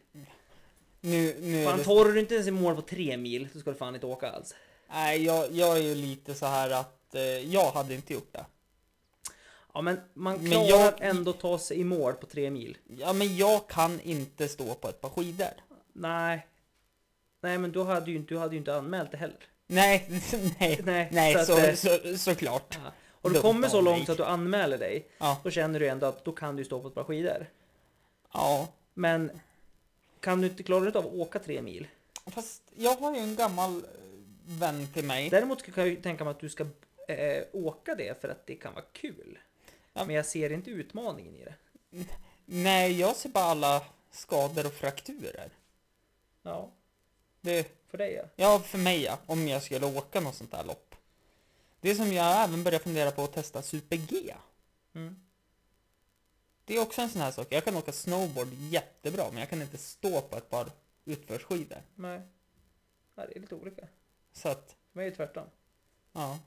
[SPEAKER 4] nu, nu är
[SPEAKER 2] Fan
[SPEAKER 4] det...
[SPEAKER 2] torrar du inte ens i mål på tre mil så ska du fan inte åka alls.
[SPEAKER 4] Nej, jag, jag är ju lite så här att eh, jag hade inte gjort det.
[SPEAKER 2] Ja men man
[SPEAKER 4] Men
[SPEAKER 2] klarar
[SPEAKER 4] jag-
[SPEAKER 2] att ändå ta sig i mål på tre mil.
[SPEAKER 4] Ja, men jag kan inte stå på ett par skidor.
[SPEAKER 2] Nej. Nej men du hade ju inte, du hade ju inte anmält det heller.
[SPEAKER 4] Nej, *laughs* nej,
[SPEAKER 2] Nej,
[SPEAKER 4] nej,
[SPEAKER 2] så att,
[SPEAKER 4] så,
[SPEAKER 2] eh,
[SPEAKER 4] så, såklart.
[SPEAKER 2] Ja. Och du
[SPEAKER 4] Dumt
[SPEAKER 2] kommer så
[SPEAKER 4] av
[SPEAKER 2] långt
[SPEAKER 4] mig.
[SPEAKER 2] så att du anmäler dig.
[SPEAKER 4] Ja.
[SPEAKER 2] Då känner du ändå att då kan du stå på ett par skidor.
[SPEAKER 4] Ja,
[SPEAKER 2] Men kan du inte, klarar du inte av att åka tre mil?
[SPEAKER 4] fast jag har ju en gammal eh, vän till mig.
[SPEAKER 2] Däremot kan jag ju tänka mig att du ska eh, åka det för att det kan vara kul.
[SPEAKER 4] Ja.
[SPEAKER 2] Men jag ser inte utmaningen i det.
[SPEAKER 4] Nej, jag ser bara alla skador och frakturer.
[SPEAKER 2] Ja,
[SPEAKER 4] Det,
[SPEAKER 2] för dig ja.
[SPEAKER 4] ja, för mig ja, om jag skulle åka något sånt här lopp. Det är som jag även börjar fundera på att testa super-G.
[SPEAKER 2] Mm.
[SPEAKER 4] Det är också en sån här sak. Jag kan åka snowboard jättebra, men jag kan inte stå på ett par utförsskidor.
[SPEAKER 2] Nej. Ja, det är lite olika.
[SPEAKER 4] Så att,
[SPEAKER 2] Men jag är tvärtom.
[SPEAKER 4] ja.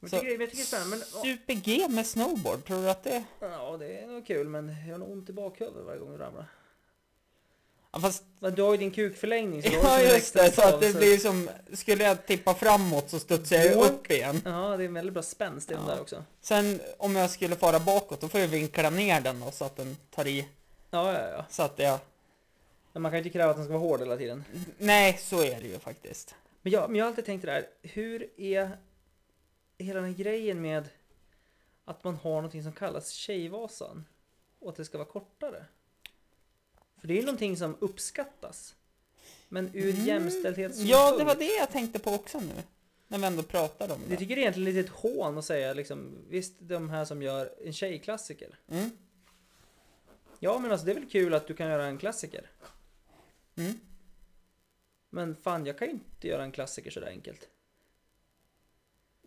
[SPEAKER 2] Men
[SPEAKER 4] Så-
[SPEAKER 2] jag tycker, men jag tycker det är spännande. Men,
[SPEAKER 4] Super-G med snowboard, tror du att det...
[SPEAKER 2] ja, ja, det är nog kul men jag har nog ont i bakhuvudet varje gång du ramlar.
[SPEAKER 4] Ja, fast
[SPEAKER 2] Men du har ju din kukförlängning så du har ju
[SPEAKER 4] Ja
[SPEAKER 2] som en
[SPEAKER 4] just
[SPEAKER 2] extra
[SPEAKER 4] det, så att
[SPEAKER 2] stav,
[SPEAKER 4] det
[SPEAKER 2] så-
[SPEAKER 4] blir som, skulle jag tippa framåt så studsar jag
[SPEAKER 2] Boink.
[SPEAKER 4] upp igen.
[SPEAKER 2] Ja, det är en väldigt bra spänst i den
[SPEAKER 4] Ja.
[SPEAKER 2] där också.
[SPEAKER 4] Sen om jag skulle fara bakåt då får jag vinkla ner den då, så att den tar i,
[SPEAKER 2] Ja, ja, ja.
[SPEAKER 4] så att jag...
[SPEAKER 2] Men man kan ju inte kräva att den ska vara hård hela tiden.
[SPEAKER 4] Nej, så är det ju faktiskt.
[SPEAKER 2] Men jag, men jag har alltid tänkt det där, hur är hela den här grejen med att man har någonting som kallas Tjejvasan och att det ska vara kortare? För det är ju någonting som uppskattas. Men ur
[SPEAKER 4] Mm.
[SPEAKER 2] jämställdhetssynpunkt.
[SPEAKER 4] Ja, det var det jag tänkte på också nu. När vi ändå pratar om
[SPEAKER 2] Jag
[SPEAKER 4] det.
[SPEAKER 2] tycker det är egentligen lite ett hån att säga liksom, visst de här som gör en tjejklassiker.
[SPEAKER 4] Mm.
[SPEAKER 2] Ja men alltså det är väl kul att du kan göra en klassiker.
[SPEAKER 4] Mm.
[SPEAKER 2] Men fan jag kan ju inte göra en klassiker sådär enkelt.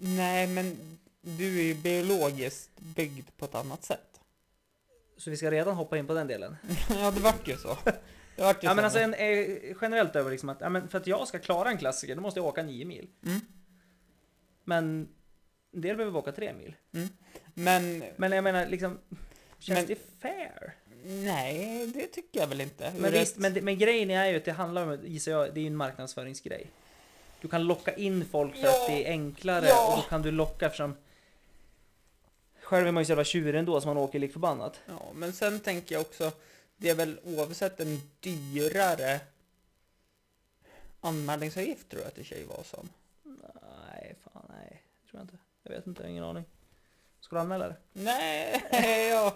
[SPEAKER 4] Nej, men du är ju biologiskt byggd på ett annat sätt. *laughs*
[SPEAKER 2] Så vi ska redan hoppa in på den delen.
[SPEAKER 4] ja, det vart ju så. Det vart ju
[SPEAKER 2] Ja
[SPEAKER 4] så.
[SPEAKER 2] men alltså en, eh, generellt över liksom att ja, men för att jag ska klara en klassiker då måste jag åka nio mil.
[SPEAKER 4] Mm.
[SPEAKER 2] Men en del behöver åka tre mil.
[SPEAKER 4] men,
[SPEAKER 2] Men jag menar liksom, känns
[SPEAKER 4] Men-
[SPEAKER 2] det fair?
[SPEAKER 4] nej, det tycker jag väl inte.
[SPEAKER 2] Men
[SPEAKER 4] Ur ett-
[SPEAKER 2] visst, men, det- men grejen är ju att det handlar om, gissar jag, det är ju en marknadsföringsgrej. Du kan locka in folk för
[SPEAKER 4] Ja.
[SPEAKER 2] att det är enklare
[SPEAKER 4] Ja.
[SPEAKER 2] och då kan du locka eftersom Själv är man ju så jävla tjurig ändå så man åker lik förbannat.
[SPEAKER 4] Ja, men sen tänker jag också, det är väl oavsett en dyrare anmälningsavgift tror jag till Tjejvasan.
[SPEAKER 2] Nej, fan nej. Det tror jag inte. Jag vet inte, jag har ingen aning. Ska du anmäla det?
[SPEAKER 4] Nej, *laughs* ja.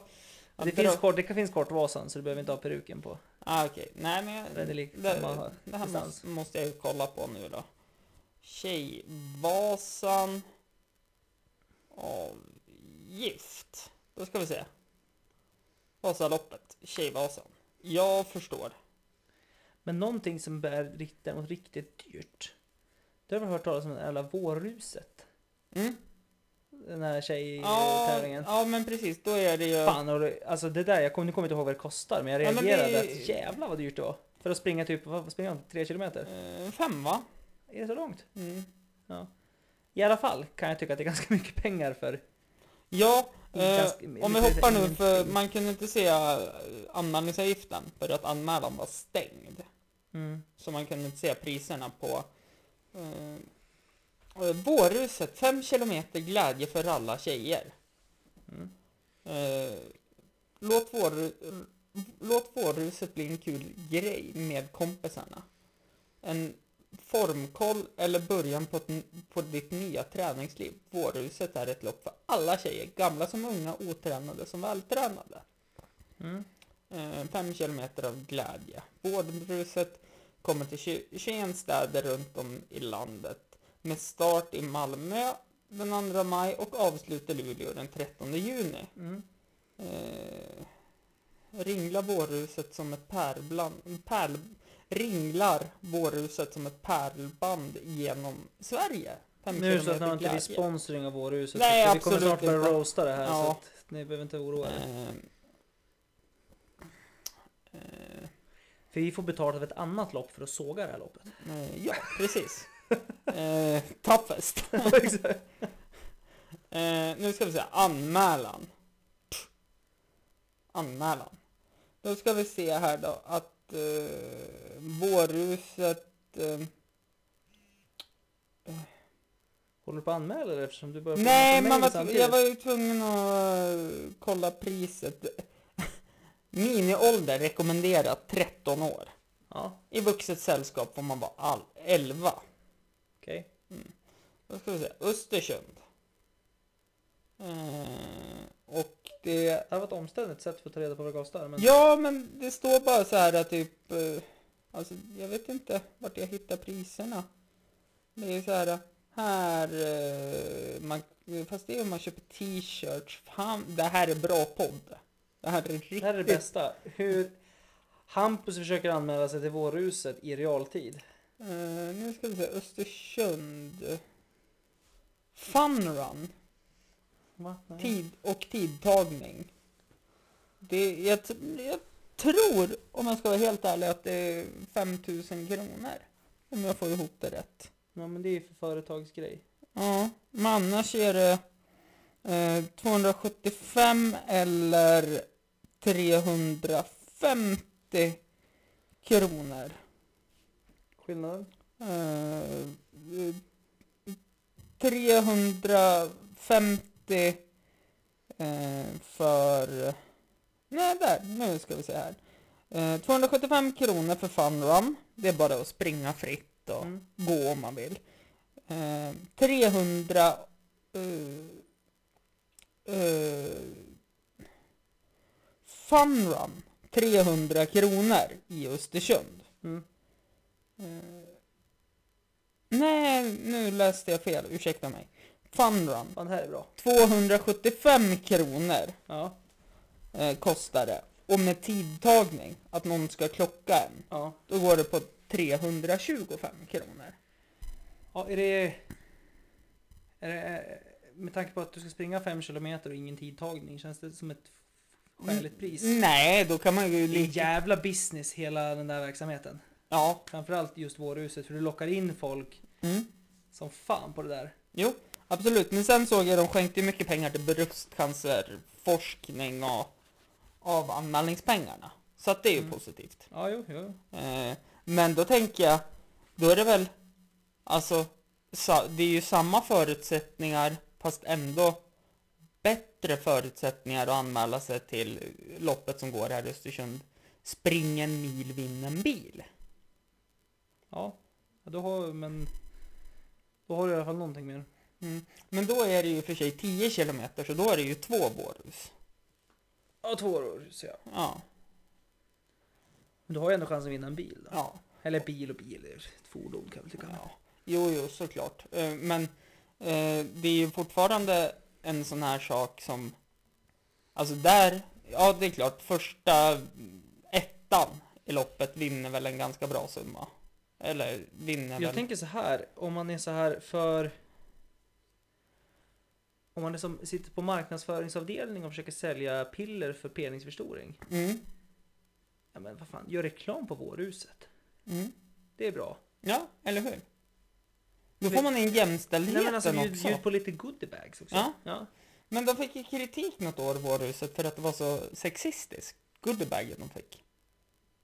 [SPEAKER 2] Det, finns kort, det kan finns kortvasan så du behöver inte ha peruken på.
[SPEAKER 4] Ah, okej. Nej, men jag,
[SPEAKER 2] Det är likt
[SPEAKER 4] det,
[SPEAKER 2] samma
[SPEAKER 4] det här
[SPEAKER 2] distans.
[SPEAKER 4] måste, måste jag ju kolla på nu då. Tjejvasan avgift. Då ska vi se. Vasaloppet, Tjejvasan. Jag förstår.
[SPEAKER 2] Men någonting som är rikt- däremot riktigt dyrt. Du har väl hört talas om det jävla vårruset?
[SPEAKER 4] Mm.
[SPEAKER 2] Den här
[SPEAKER 4] Ja,
[SPEAKER 2] tjejtävlingen.
[SPEAKER 4] ja, men precis. Då är det ju...
[SPEAKER 2] Fan, och det, alltså det där, jag kommer, nu kommer jag inte ihåg vad det kostar, men jag
[SPEAKER 4] Ja, men
[SPEAKER 2] reagerade
[SPEAKER 4] det-
[SPEAKER 2] att jävlar vad dyrt det var. För att springa typ, vad vad springer de? Tre kilometer?
[SPEAKER 4] Eh, fem va?
[SPEAKER 2] Är det så långt?
[SPEAKER 4] Mm.
[SPEAKER 2] I alla fall kan jag tycka att det är ganska *laughs* mycket pengar för...
[SPEAKER 4] Ja, eh,
[SPEAKER 2] ganska-
[SPEAKER 4] om vi
[SPEAKER 2] lite-
[SPEAKER 4] hoppar nu för
[SPEAKER 2] ingenting.
[SPEAKER 4] man kunde inte se eh, anmälningsavgiften för att anmälan var stängd.
[SPEAKER 2] Mm.
[SPEAKER 4] Så man kunde inte se priserna på eh, eh, Vårruset, 5 kilometer glädje för alla tjejer.
[SPEAKER 2] Mm.
[SPEAKER 4] Eh, låt, vår, låt vårruset bli en kul grej med kompisarna. En formkoll eller början på, ett, n- på ditt nya träningsliv. Vårruset är ett lopp för alla tjejer, gamla som unga, otränade som vältränade.
[SPEAKER 2] Mm.
[SPEAKER 4] 5 Eh, kilometer av glädje. Vårdbruset kommer till tju- 21 städer runt om i landet med start i Malmö den 2 maj och avslut i Luleå den 13 juni.
[SPEAKER 2] Mm.
[SPEAKER 4] Eh, ringla vårruset som ett pärlbland, pärl, ringlar vårruset som ett pärlband genom Sverige. Fem
[SPEAKER 2] Nu är det så att
[SPEAKER 4] kilometer
[SPEAKER 2] när inte vi
[SPEAKER 4] glädje.
[SPEAKER 2] sponsring av vårruset,
[SPEAKER 4] Nej,
[SPEAKER 2] så vi kommer
[SPEAKER 4] absolut
[SPEAKER 2] snart börja
[SPEAKER 4] inte.
[SPEAKER 2] roasta det här så
[SPEAKER 4] Ja.
[SPEAKER 2] att ni behöver inte oroa er.
[SPEAKER 4] Eh, eh,
[SPEAKER 2] För vi får betalt av ett annat lopp för att såga det här loppet. *laughs*
[SPEAKER 4] Eh, Ja, precis. Eh, toughest. *laughs* eh, nu ska vi se, anmälan. Pff. Anmälan. Då ska vi se här då att eh, vårruset... Eh,
[SPEAKER 2] Håller du på att anmäla dig eftersom du börjar få
[SPEAKER 4] nej,
[SPEAKER 2] massa
[SPEAKER 4] man
[SPEAKER 2] mejl
[SPEAKER 4] var,
[SPEAKER 2] samtidigt?
[SPEAKER 4] jag var ju tvungen att eh, kolla priset. *laughs* Miniålder rekommenderat 13 år.
[SPEAKER 2] Ja,
[SPEAKER 4] I vuxet sällskap får man vara all, 11.
[SPEAKER 2] okej.
[SPEAKER 4] Då ska vi se, Östersund. Eh, och det...
[SPEAKER 2] Det här var ett omständigt sätt för att ta reda på vad det kostar. Men...
[SPEAKER 4] Ja, men det står bara så här att typ... eh, Alltså, jag vet inte vart jag hittar priserna. Det är så här... Här... eh, Man, fast det är om man köper t-shirts. Fan, det här är bra podd. Det här är riktigt...
[SPEAKER 2] Det här är det bästa. Hur Hampus försöker anmäla sig till vårruset i realtid.
[SPEAKER 4] Eh, nu ska vi se, Östersund. Funrun.
[SPEAKER 2] Va? Nej.
[SPEAKER 4] tid och tidtagning. Det, jag, t- jag tror, om jag ska vara helt ärlig, att det är 5000 kronor. Om jag får ihop det rätt.
[SPEAKER 2] Ja, men det är ju för företagsgrej.
[SPEAKER 4] Ja, men annars är det eh, 275 eller 350 kronor.
[SPEAKER 2] Skillnaden?
[SPEAKER 4] Eh, 350 eh, för... Nej, där. Nu ska vi se här. Eh, 275 kronor för fun run. Det är bara att springa fritt och
[SPEAKER 2] Mm.
[SPEAKER 4] gå om man vill. Eh, 300... Eh, eh, fun run. 300 kronor i Östersund.
[SPEAKER 2] Mm.
[SPEAKER 4] Eh, Nej, nu läste jag fel. Ursäkta mig. Funrun.
[SPEAKER 2] Fan, det här är bra.
[SPEAKER 4] 275 kronor
[SPEAKER 2] Ja,
[SPEAKER 4] eh, kostar det. Och med tidtagning, att någon ska klocka en,
[SPEAKER 2] ja.
[SPEAKER 4] då går det på 325 kronor.
[SPEAKER 2] ja är, det, är det... Med tanke på att du ska springa 5 kilometer och ingen tidtagning, känns det som ett skäligt pris?
[SPEAKER 4] Nej, då kan man ju
[SPEAKER 2] Det är en
[SPEAKER 4] lika...
[SPEAKER 2] jävla business hela den där verksamheten.
[SPEAKER 4] Ja.
[SPEAKER 2] Framförallt just vårhuset för du lockar in folk
[SPEAKER 4] Mm.
[SPEAKER 2] som fan på det där.
[SPEAKER 4] Jo, absolut. Men sen såg jag de skänkte ju mycket pengar till bröstcancerforskning och av anmälningspengarna. Så att det är ju
[SPEAKER 2] Mm.
[SPEAKER 4] positivt.
[SPEAKER 2] Ja, jo, jo.
[SPEAKER 4] Eh, Men då tänker jag, då är det väl, alltså, sa- det är ju samma förutsättningar fast ändå bättre förutsättningar att anmäla sig till loppet som går här i Östersund. Spring en mil, vinn en bil.
[SPEAKER 2] Ja, Ja, då har, men, då har du i alla fall någonting mer.
[SPEAKER 4] Mm. Men då är det ju för sig 10 kilometer, så då är det ju två bårhus.
[SPEAKER 2] Ja, två år så ja.
[SPEAKER 4] Ja,
[SPEAKER 2] Men du har ju ändå chansen att vinna en bil då.
[SPEAKER 4] ja,
[SPEAKER 2] Eller bil och bil, ett fordon kan jag väl tycka.
[SPEAKER 4] ja. Jo, jo, såklart. Eh, Men eh, det är ju fortfarande en sån här sak som Alltså där, ja det är klart, första ettan i loppet vinner väl en ganska bra summa. Eller vinner
[SPEAKER 2] Jag
[SPEAKER 4] väl...
[SPEAKER 2] tänker så här, om man är så här för... Om man är som, sitter på marknadsföringsavdelning och försöker sälja piller för penisförstoring.
[SPEAKER 4] Mm,
[SPEAKER 2] Ja men vad fan, gör reklam på vårhuset.
[SPEAKER 4] mm.
[SPEAKER 2] Det är bra.
[SPEAKER 4] Ja, eller hur? Då
[SPEAKER 2] Vi-
[SPEAKER 4] får man in jämställdheten
[SPEAKER 2] Nej men alltså bjud,
[SPEAKER 4] också.
[SPEAKER 2] bjud på lite goodiebags också.
[SPEAKER 4] Ja.
[SPEAKER 2] ja.
[SPEAKER 4] Men de fick ju kritik något år, Vårhuset, för att det var så sexistiskt. Goodiebagen de fick.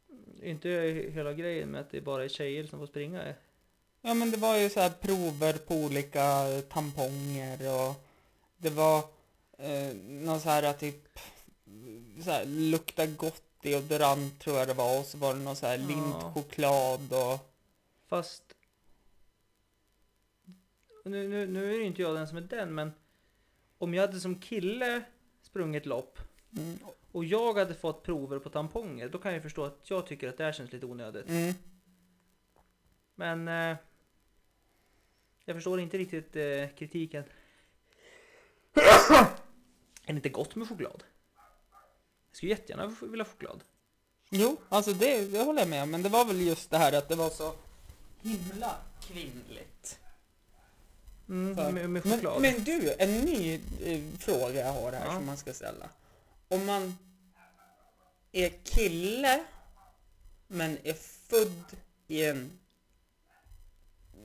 [SPEAKER 2] Det är Inte hela grejen med att det bara är tjejer som får springa.
[SPEAKER 4] Ja men det var ju så här prover på olika eh, tamponger och det var eh, någon så här typ så här, lukta gott deodorant tror jag det var och så var det någon så här
[SPEAKER 2] Ja.
[SPEAKER 4] lintchoklad och
[SPEAKER 2] Fast... Nu, nu, nu är det inte jag den som är den men... Om jag hade som kille sprungit lopp
[SPEAKER 4] mm,
[SPEAKER 2] och jag hade fått prover på tamponger då kan jag förstå att jag tycker att det här känns lite onödigt.
[SPEAKER 4] mm,
[SPEAKER 2] Men... Eh, jag förstår inte riktigt eh, kritiken. är det inte gott med choklad? Jag skulle jättegärna vilja ha choklad.
[SPEAKER 4] jo alltså det, det håller jag med om men det var väl just det här att det var så himla kvinnligt.
[SPEAKER 2] Mm, med, med
[SPEAKER 4] Men,
[SPEAKER 2] choklad.
[SPEAKER 4] men du, en ny eh, fråga jag har här
[SPEAKER 2] Ja.
[SPEAKER 4] som man ska ställa. Om man är kille men är född i en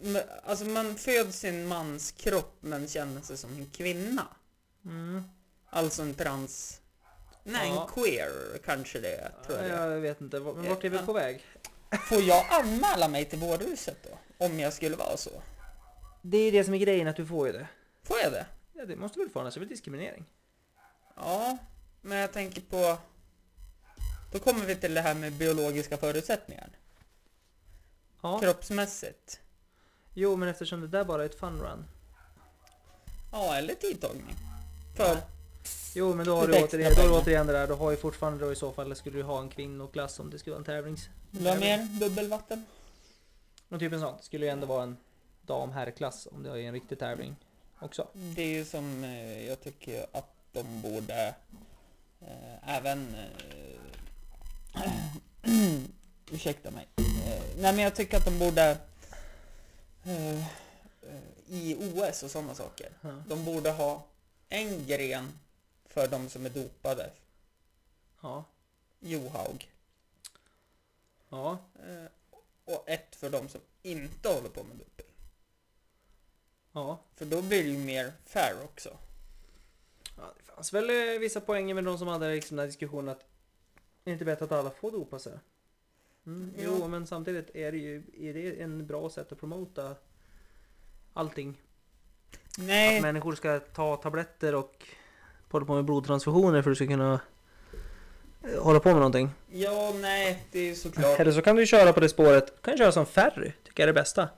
[SPEAKER 4] men- Alltså man föds i en mans kropp men känner sig som en kvinna.
[SPEAKER 2] Mm.
[SPEAKER 4] Alltså en trans... Nej,
[SPEAKER 2] Ja.
[SPEAKER 4] en queer kanske det är, tror jag det är.
[SPEAKER 2] Jag vet inte, men vart är vi
[SPEAKER 4] Ja.
[SPEAKER 2] på väg?
[SPEAKER 4] Får jag anmäla mig till vårdhuset då? Om jag skulle vara så?
[SPEAKER 2] Det är det som är grejen, att du får ju det.
[SPEAKER 4] Får jag det?
[SPEAKER 2] Ja, det måste du väl få, annars är det väl diskriminering?
[SPEAKER 4] Ja, men jag tänker på... Då kommer vi till det här med biologiska förutsättningar.
[SPEAKER 2] Ja.
[SPEAKER 4] Kroppsmässigt.
[SPEAKER 2] Jo, men eftersom det där bara är ett fun run.
[SPEAKER 4] Ja, eller tidtagning. För...
[SPEAKER 2] Jo, men då har
[SPEAKER 4] Lite
[SPEAKER 2] du,
[SPEAKER 4] extra
[SPEAKER 2] återigen, då har
[SPEAKER 4] pengar.
[SPEAKER 2] du återigen det där. Du har ju fortfarande då i så fall, skulle du ha en kvinnoklass om det skulle vara en tävlings...
[SPEAKER 4] Vill du ha mer bubbelvatten?
[SPEAKER 2] Någon typ av sånt. Skulle ju ändå vara en dam herrklass om det är en riktig tävling också.
[SPEAKER 4] Det är ju som eh, jag tycker att de borde eh, även... Eh, *clears throat* ursäkta mig. Eh, nej men jag tycker att de borde eh, eh, i OS och sådana saker.
[SPEAKER 2] Ja.
[SPEAKER 4] De borde ha en gren för de som är dopade.
[SPEAKER 2] Ja.
[SPEAKER 4] Johaug.
[SPEAKER 2] Ja.
[SPEAKER 4] Eh, och ett för de som inte håller på med doping.
[SPEAKER 2] Ja.
[SPEAKER 4] För då blir det ju mer fair också.
[SPEAKER 2] Ja, det fanns väl eh, vissa poänger med de som hade liksom den här diskussionen att det är inte bättre att alla får dopa sig. Mm,
[SPEAKER 4] Ja.
[SPEAKER 2] Jo, men samtidigt är det ju är det en bra sätt att promota allting.
[SPEAKER 4] Nej.
[SPEAKER 2] Att människor ska ta tabletter och hålla på med blodtransfusioner för att du ska kunna eh, hålla på med någonting.
[SPEAKER 4] Ja, nej, det är ju såklart.
[SPEAKER 2] Eller så kan du köra på det spåret. Du kan köra som Ferry, tycker jag är det bästa.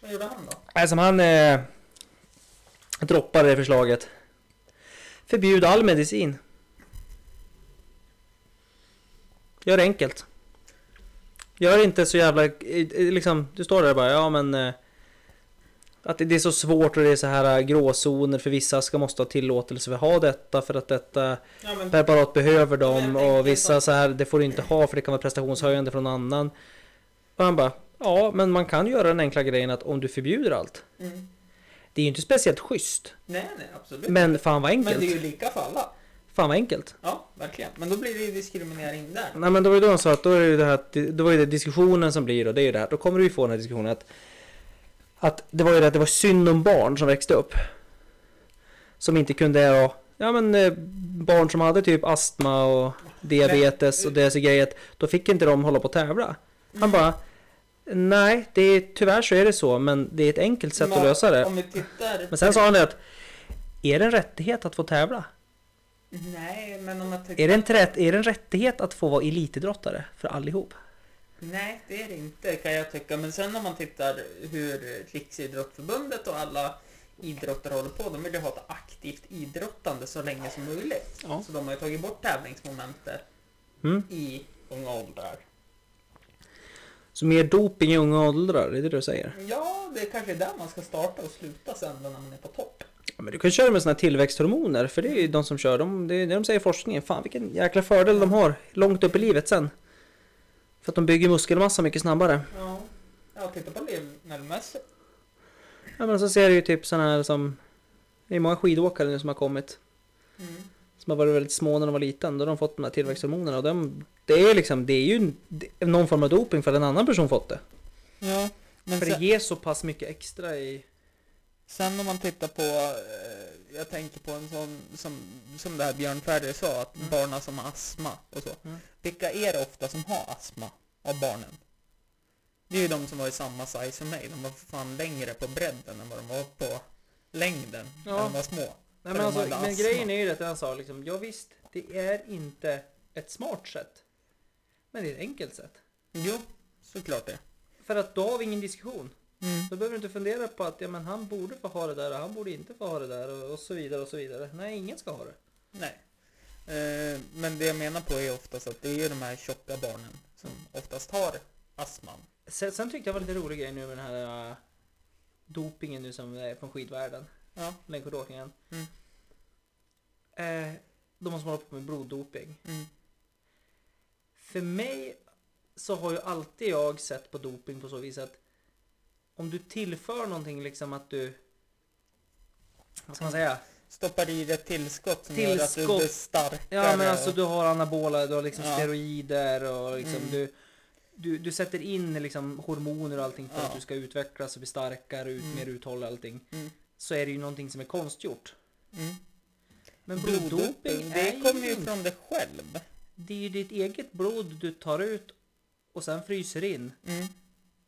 [SPEAKER 4] Vad gjorde han då?
[SPEAKER 2] Nej, som han eh, droppade det förslaget. Förbjud all medicin. Gör det enkelt. Gör inte så jävla... eh, eh, Liksom, du står där och bara, ja men... eh, Att det det är så svårt och det är så här eh, gråzoner för vissa ska måste ha tillåtelse för att ha detta för att detta
[SPEAKER 4] Ja, men
[SPEAKER 2] preparat behöver
[SPEAKER 4] Ja,
[SPEAKER 2] dem
[SPEAKER 4] men jag tänker
[SPEAKER 2] och vissa
[SPEAKER 4] som-
[SPEAKER 2] så här, det får du inte ha för det kan vara prestationshöjande för någon annan. Och han bara, ja men man kan göra den enkla grejen att om du förbjuder allt.
[SPEAKER 4] Mm.
[SPEAKER 2] Det är ju inte speciellt schysst,
[SPEAKER 4] Nej, nej, absolut. Men,
[SPEAKER 2] men fan vad enkelt.
[SPEAKER 4] det är ju lika för alla.
[SPEAKER 2] Fan vad enkelt.
[SPEAKER 4] Ja, verkligen. Men då blir det ju diskriminering där.
[SPEAKER 2] Nej men då var ju då de sa att då är det ju det här, att- då var ju det diskussionen som blir och det är ju det här, då kommer du ju få den här diskussionen att att det var ju det att det var synd om barn som växte upp. Som inte kunde, ja, ja men eh, barn som hade typ astma och diabetes och det så grejer, att då fick inte de hålla på och tävla. Han bara, nej, det är, tyvärr så är det så, men det är ett enkelt sätt att
[SPEAKER 4] Men
[SPEAKER 2] lösa det.
[SPEAKER 4] Om vi tittar...
[SPEAKER 2] Men sen sa han det att, är det en rättighet att få tävla?
[SPEAKER 4] Nej, men om man tittar...
[SPEAKER 2] Är det en, trä- är det en rättighet att få vara elitidrottare för allihop?
[SPEAKER 4] Nej, det är det inte kan jag tycka. Men sen om man tittar hur Riksidrottsförbundet och alla idrotter håller på, de vill ju ha ett aktivt idrottande så länge som möjligt.
[SPEAKER 2] Ja.
[SPEAKER 4] Så de har ju tagit bort tävlingsmomentet
[SPEAKER 2] Mm.
[SPEAKER 4] i unga åldrar.
[SPEAKER 2] Så mer doping i unga åldrar, är det det du säger?
[SPEAKER 4] Ja, det är kanske är där man ska starta och sluta sen när man är på topp.
[SPEAKER 2] Ja, men du kan köra med såna här tillväxthormoner, för det är ju de som kör dem. Det är det de säger i forskningen. Fan vilken jäkla fördel de har långt upp i livet sen. För att de bygger muskelmassa mycket snabbare.
[SPEAKER 4] Ja, ja titta på Lionel Messi.
[SPEAKER 2] Ja men så ser du ju typ såna här som... Det är många skidåkare nu som har kommit.
[SPEAKER 4] Mm.
[SPEAKER 2] Som har varit väldigt små när de var liten. Då har de fått de här tillväxthormonerna. Och de, det är liksom, det är ju det är någon form av doping för att en annan person fått det.
[SPEAKER 4] Ja, men
[SPEAKER 2] För det
[SPEAKER 4] sen,
[SPEAKER 2] ger så pass mycket extra i...
[SPEAKER 4] sen om man tittar på, eh, jag tänker på en sån som, som det här Björn Ferry sa, att barnen som har astma och så.
[SPEAKER 2] Mm.
[SPEAKER 4] Vilka är det ofta som har astma av barnen? Det är ju de som var i samma size som mig, de var för fan längre på bredden än vad de var på längden
[SPEAKER 2] Ja.
[SPEAKER 4] när de var små.
[SPEAKER 2] Nej,
[SPEAKER 4] För
[SPEAKER 2] men,
[SPEAKER 4] de
[SPEAKER 2] alltså,
[SPEAKER 4] hade
[SPEAKER 2] men
[SPEAKER 4] astma.
[SPEAKER 2] grejen är ju att han sa liksom, ja visst, det är inte ett smart sätt. Men det är ett enkelt sätt.
[SPEAKER 4] Jo, såklart det.
[SPEAKER 2] För att då har vi ingen diskussion.
[SPEAKER 4] Mm.
[SPEAKER 2] Då behöver du inte fundera på att ja, men han borde få ha det där och han borde inte få ha det där och, och så vidare och så vidare. Nej, ingen ska ha det.
[SPEAKER 4] Nej. Eh, men det jag menar på är oftast att det är ju de här tjocka barnen som oftast har astman.
[SPEAKER 2] Sen, sen tyckte jag var lite rolig grej nu med den här äh, dopingen nu som är från skidvärlden.
[SPEAKER 4] Ja.
[SPEAKER 2] Längdskidåkningen.
[SPEAKER 4] Mm.
[SPEAKER 2] Eh, de måste hålla på med bloddoping.
[SPEAKER 4] Mm.
[SPEAKER 2] För mig så har ju alltid jag sett på doping på så vis att om du tillför någonting liksom att du... Vad ska man säga?
[SPEAKER 4] Stoppar i dig ett tillskott som gör att du
[SPEAKER 2] Tillskott.
[SPEAKER 4] blir starkare.
[SPEAKER 2] Ja men alltså
[SPEAKER 4] och-
[SPEAKER 2] du har anabola, du har liksom
[SPEAKER 4] Ja.
[SPEAKER 2] steroider och liksom
[SPEAKER 4] Mm.
[SPEAKER 2] du... du, du sätter in liksom hormoner och allting för
[SPEAKER 4] Ja.
[SPEAKER 2] att du ska utvecklas och bli starkare, ut,
[SPEAKER 4] Mm.
[SPEAKER 2] mer uthåll och allting.
[SPEAKER 4] Mm.
[SPEAKER 2] Så är det ju någonting som är konstgjort.
[SPEAKER 4] Mm.
[SPEAKER 2] Men
[SPEAKER 4] Bloddoping,
[SPEAKER 2] bloddoping
[SPEAKER 4] det
[SPEAKER 2] är
[SPEAKER 4] kommer
[SPEAKER 2] ju
[SPEAKER 4] ju från dig själv.
[SPEAKER 2] Det är ju ditt eget blod du tar ut och sen fryser in
[SPEAKER 4] Mm.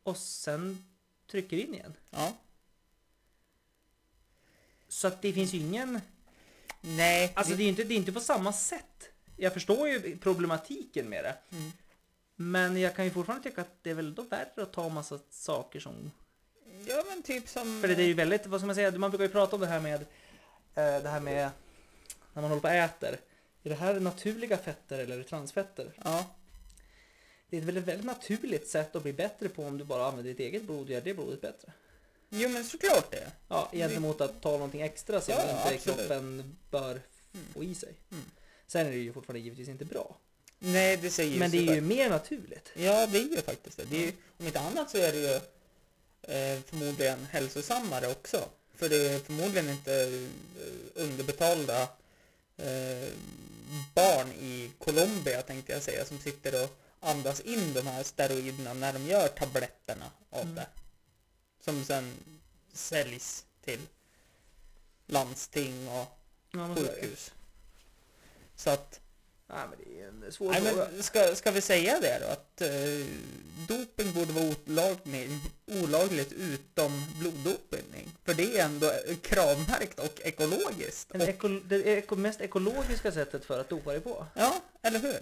[SPEAKER 2] och sen trycker in igen.
[SPEAKER 4] Ja.
[SPEAKER 2] Så att det finns ju ingen...
[SPEAKER 4] Nej.
[SPEAKER 2] Alltså det är ju inte, det är inte på samma sätt. Jag förstår ju problematiken med det.
[SPEAKER 4] Mm.
[SPEAKER 2] Men jag kan ju fortfarande tycka att det är väl då värre att ta massa saker som...
[SPEAKER 4] Ja men typ som...
[SPEAKER 2] För det är ju väldigt, vad ska man säga, man brukar ju prata om det här med... eh, Det här med när man håller på och äter. Är det här naturliga fetter eller är det transfetter?
[SPEAKER 4] Ja.
[SPEAKER 2] Det är väl ett väldigt naturligt sätt att bli bättre på om du bara använder ditt eget blod och gör det blodet bättre.
[SPEAKER 4] Jo men såklart det.
[SPEAKER 2] Ja, gentemot att ta någonting extra som
[SPEAKER 4] Ja, ja,
[SPEAKER 2] inte
[SPEAKER 4] absolut.
[SPEAKER 2] kroppen bör få i sig.
[SPEAKER 4] Mm.
[SPEAKER 2] Sen är det ju fortfarande givetvis inte bra.
[SPEAKER 4] Nej det säger
[SPEAKER 2] Men det
[SPEAKER 4] sig
[SPEAKER 2] är ju
[SPEAKER 4] själv.
[SPEAKER 2] mer naturligt.
[SPEAKER 4] Ja det är ju faktiskt det. det är ju, om inte annat så är det ju eh, förmodligen hälsosammare också. För det är förmodligen inte eh, underbetalda eh, barn i Colombia tänkte jag säga som sitter och andas in de här steroiderna när de gör tabletterna av
[SPEAKER 2] Mm.
[SPEAKER 4] det. Som sen säljs till landsting och
[SPEAKER 2] Ja, men så är det.
[SPEAKER 4] sjukhus. Så att,
[SPEAKER 2] Ja, men det är en svår
[SPEAKER 4] nej,
[SPEAKER 2] fråga.
[SPEAKER 4] men ska, ska vi säga det då? Att eh, doping borde vara olagligt, olagligt utom bloddopning. För det är ändå kravmärkt och ekologiskt.
[SPEAKER 2] En
[SPEAKER 4] Och,
[SPEAKER 2] eko, det eko, mest ekologiska sättet för att dopa dig på.
[SPEAKER 4] ja, eller hur?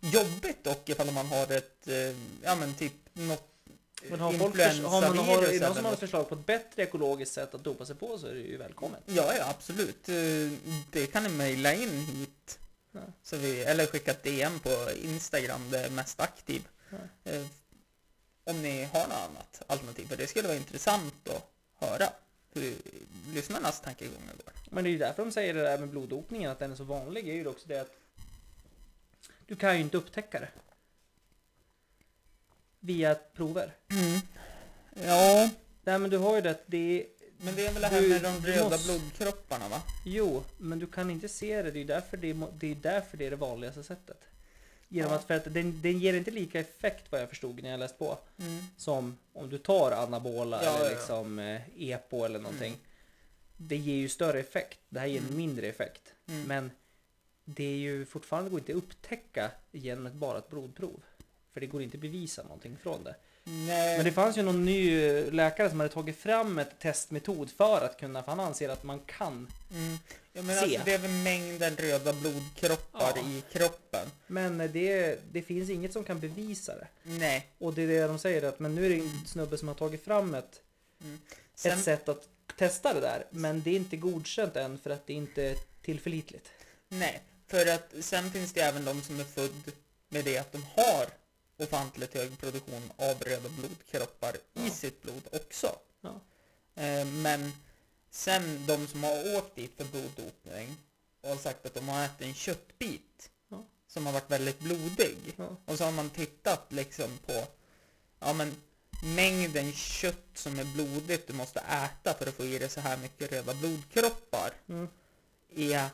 [SPEAKER 4] Jobbigt dock ifall man har ett, eh, ja men typ något
[SPEAKER 2] Men har, folk, förs- har man har,
[SPEAKER 4] influensavirus
[SPEAKER 2] är det någon
[SPEAKER 4] eller
[SPEAKER 2] som har
[SPEAKER 4] något.
[SPEAKER 2] ett förslag på ett bättre ekologiskt sätt att dopa sig på så är det ju välkommet.
[SPEAKER 4] Ja, ja, absolut. Eh, Det kan ni mejla in hit.
[SPEAKER 2] Ja.
[SPEAKER 4] Så vi, eller skicka ett DM på Instagram, det är mest aktiv.
[SPEAKER 2] Ja.
[SPEAKER 4] Eh, Om ni har något annat alternativ, för det skulle vara intressant att höra hur lyssnarnas tankegångar går.
[SPEAKER 2] Men det är ju därför de säger det där med bloddopningen, att den är så vanlig, är ju också det att du kan ju inte upptäcka det. Via prover.
[SPEAKER 4] Ja,
[SPEAKER 2] Nej men du har ju det att det
[SPEAKER 4] men det är väl det här
[SPEAKER 2] Du-
[SPEAKER 4] med de
[SPEAKER 2] du
[SPEAKER 4] röda
[SPEAKER 2] måste-
[SPEAKER 4] blodkropparna va?
[SPEAKER 2] Jo, men du kan inte se det. Det är ju därför det är, mo- det, är, därför det, är det vanligaste sättet. Genom
[SPEAKER 4] Ja.
[SPEAKER 2] att, för att den, den ger inte lika effekt vad jag förstod när jag läste på. Som om du tar
[SPEAKER 4] Ja,
[SPEAKER 2] anabola
[SPEAKER 4] ja,
[SPEAKER 2] eller
[SPEAKER 4] ja.
[SPEAKER 2] liksom eh, epo eller någonting. Det ger ju större effekt. Det här ger en
[SPEAKER 4] Mm.
[SPEAKER 2] mindre effekt.
[SPEAKER 4] Mm.
[SPEAKER 2] Men det är ju fortfarande går inte att upptäcka genom ett bara ett blodprov. För det går inte att bevisa någonting från det.
[SPEAKER 4] Mm. Nej.
[SPEAKER 2] Men det fanns ju någon ny eh, läkare som hade tagit fram ett testmetod för att kunna, för han anser att man kan
[SPEAKER 4] Mm. Ja, men
[SPEAKER 2] Se.
[SPEAKER 4] alltså, det är väl mängden röda blodkroppar
[SPEAKER 2] Ja.
[SPEAKER 4] i kroppen?
[SPEAKER 2] Men eh, det, det finns inget som kan bevisa det.
[SPEAKER 4] Nej.
[SPEAKER 2] Och det är det de säger att men nu är det en snubbe som har tagit fram ett, ett sätt att testa det där. Men det är inte godkänt än för att det inte är tillförlitligt.
[SPEAKER 4] Nej, för att sen finns det även de som är född med det att de har ofantligt hög produktion av röda blodkroppar i sitt blod också.
[SPEAKER 2] Ja.
[SPEAKER 4] Eh, Men sen de som har åkt dit för bloddopning och har sagt att de har ätit en köttbit
[SPEAKER 2] Ja.
[SPEAKER 4] som har varit väldigt blodig.
[SPEAKER 2] Ja.
[SPEAKER 4] Och så har man tittat liksom på ja, men mängden kött som är blodigt du måste äta för att få i dig så här mycket röda blodkroppar
[SPEAKER 2] Mm.
[SPEAKER 4] är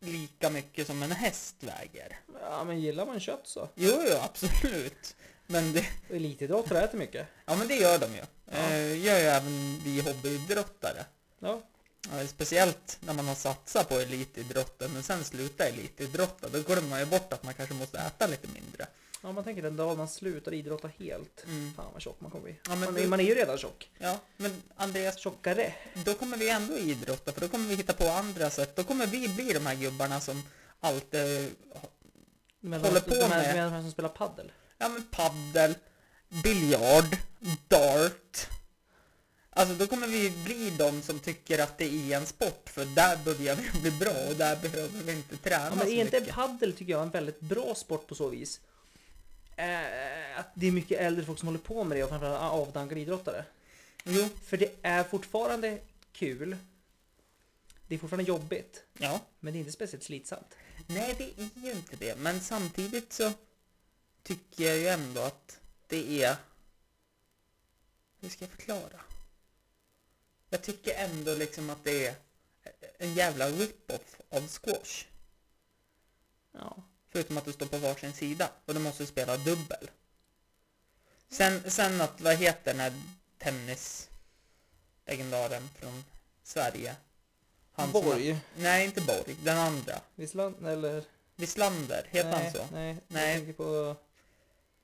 [SPEAKER 4] lika mycket som en häst väger.
[SPEAKER 2] Ja men gillar man kött så.
[SPEAKER 4] Jo, jo, absolut. Men det,
[SPEAKER 2] Och Elitidrottare äter mycket.
[SPEAKER 4] ja, men det gör de ju. Eh, gör ju även vi hobbyidrottare.
[SPEAKER 2] Ja.
[SPEAKER 4] Ja, Speciellt när man har satsat på elitidrotten men sen slutar elitidrotta. Då glömmer man ju bort att man kanske måste äta lite mindre.
[SPEAKER 2] ja man tänker den dag man slutar idrotta helt.
[SPEAKER 4] Mm.
[SPEAKER 2] Fan vad tjock man kommer bli.
[SPEAKER 4] Ja, men
[SPEAKER 2] man,
[SPEAKER 4] du-
[SPEAKER 2] man är ju redan tjock.
[SPEAKER 4] Ja, men Andreas,
[SPEAKER 2] Tjockare.
[SPEAKER 4] då kommer vi ändå idrotta för då kommer vi hitta på andra sätt. Då kommer vi bli de här gubbarna som alltid
[SPEAKER 2] Men
[SPEAKER 4] Håller på
[SPEAKER 2] de här,
[SPEAKER 4] med-
[SPEAKER 2] De här, de här som spelar paddel.
[SPEAKER 4] Ja men paddel, biljard, dart. Alltså då kommer vi bli de som tycker att det är en sport för där börjar vi bli bra och där behöver vi inte träna
[SPEAKER 2] Ja, men
[SPEAKER 4] så
[SPEAKER 2] är inte
[SPEAKER 4] mycket.
[SPEAKER 2] paddel tycker jag en väldigt bra sport på så vis? Eh, att det är mycket äldre folk som håller på med det och framförallt avdankade idrottare.
[SPEAKER 4] Jo,
[SPEAKER 2] För det är fortfarande kul. Det är fortfarande jobbigt.
[SPEAKER 4] ja.
[SPEAKER 2] Men det är inte speciellt slitsamt.
[SPEAKER 4] Nej det är ju inte det men samtidigt så tycker jag ju ändå att det är... Hur ska jag förklara? Jag tycker ändå liksom att det är en jävla rip-off av squash.
[SPEAKER 2] Ja.
[SPEAKER 4] Förutom att du står på varsin sida och du måste spela dubbel. Sen, sen att, vad heter den här tennislegendaren från Sverige? som-
[SPEAKER 2] Borg?
[SPEAKER 4] Nej, inte Borg. Den andra.
[SPEAKER 2] Visslan eller?
[SPEAKER 4] Wislander, heter
[SPEAKER 2] nej,
[SPEAKER 4] han så?
[SPEAKER 2] Nej,
[SPEAKER 4] Nej.
[SPEAKER 2] Jag tänker på...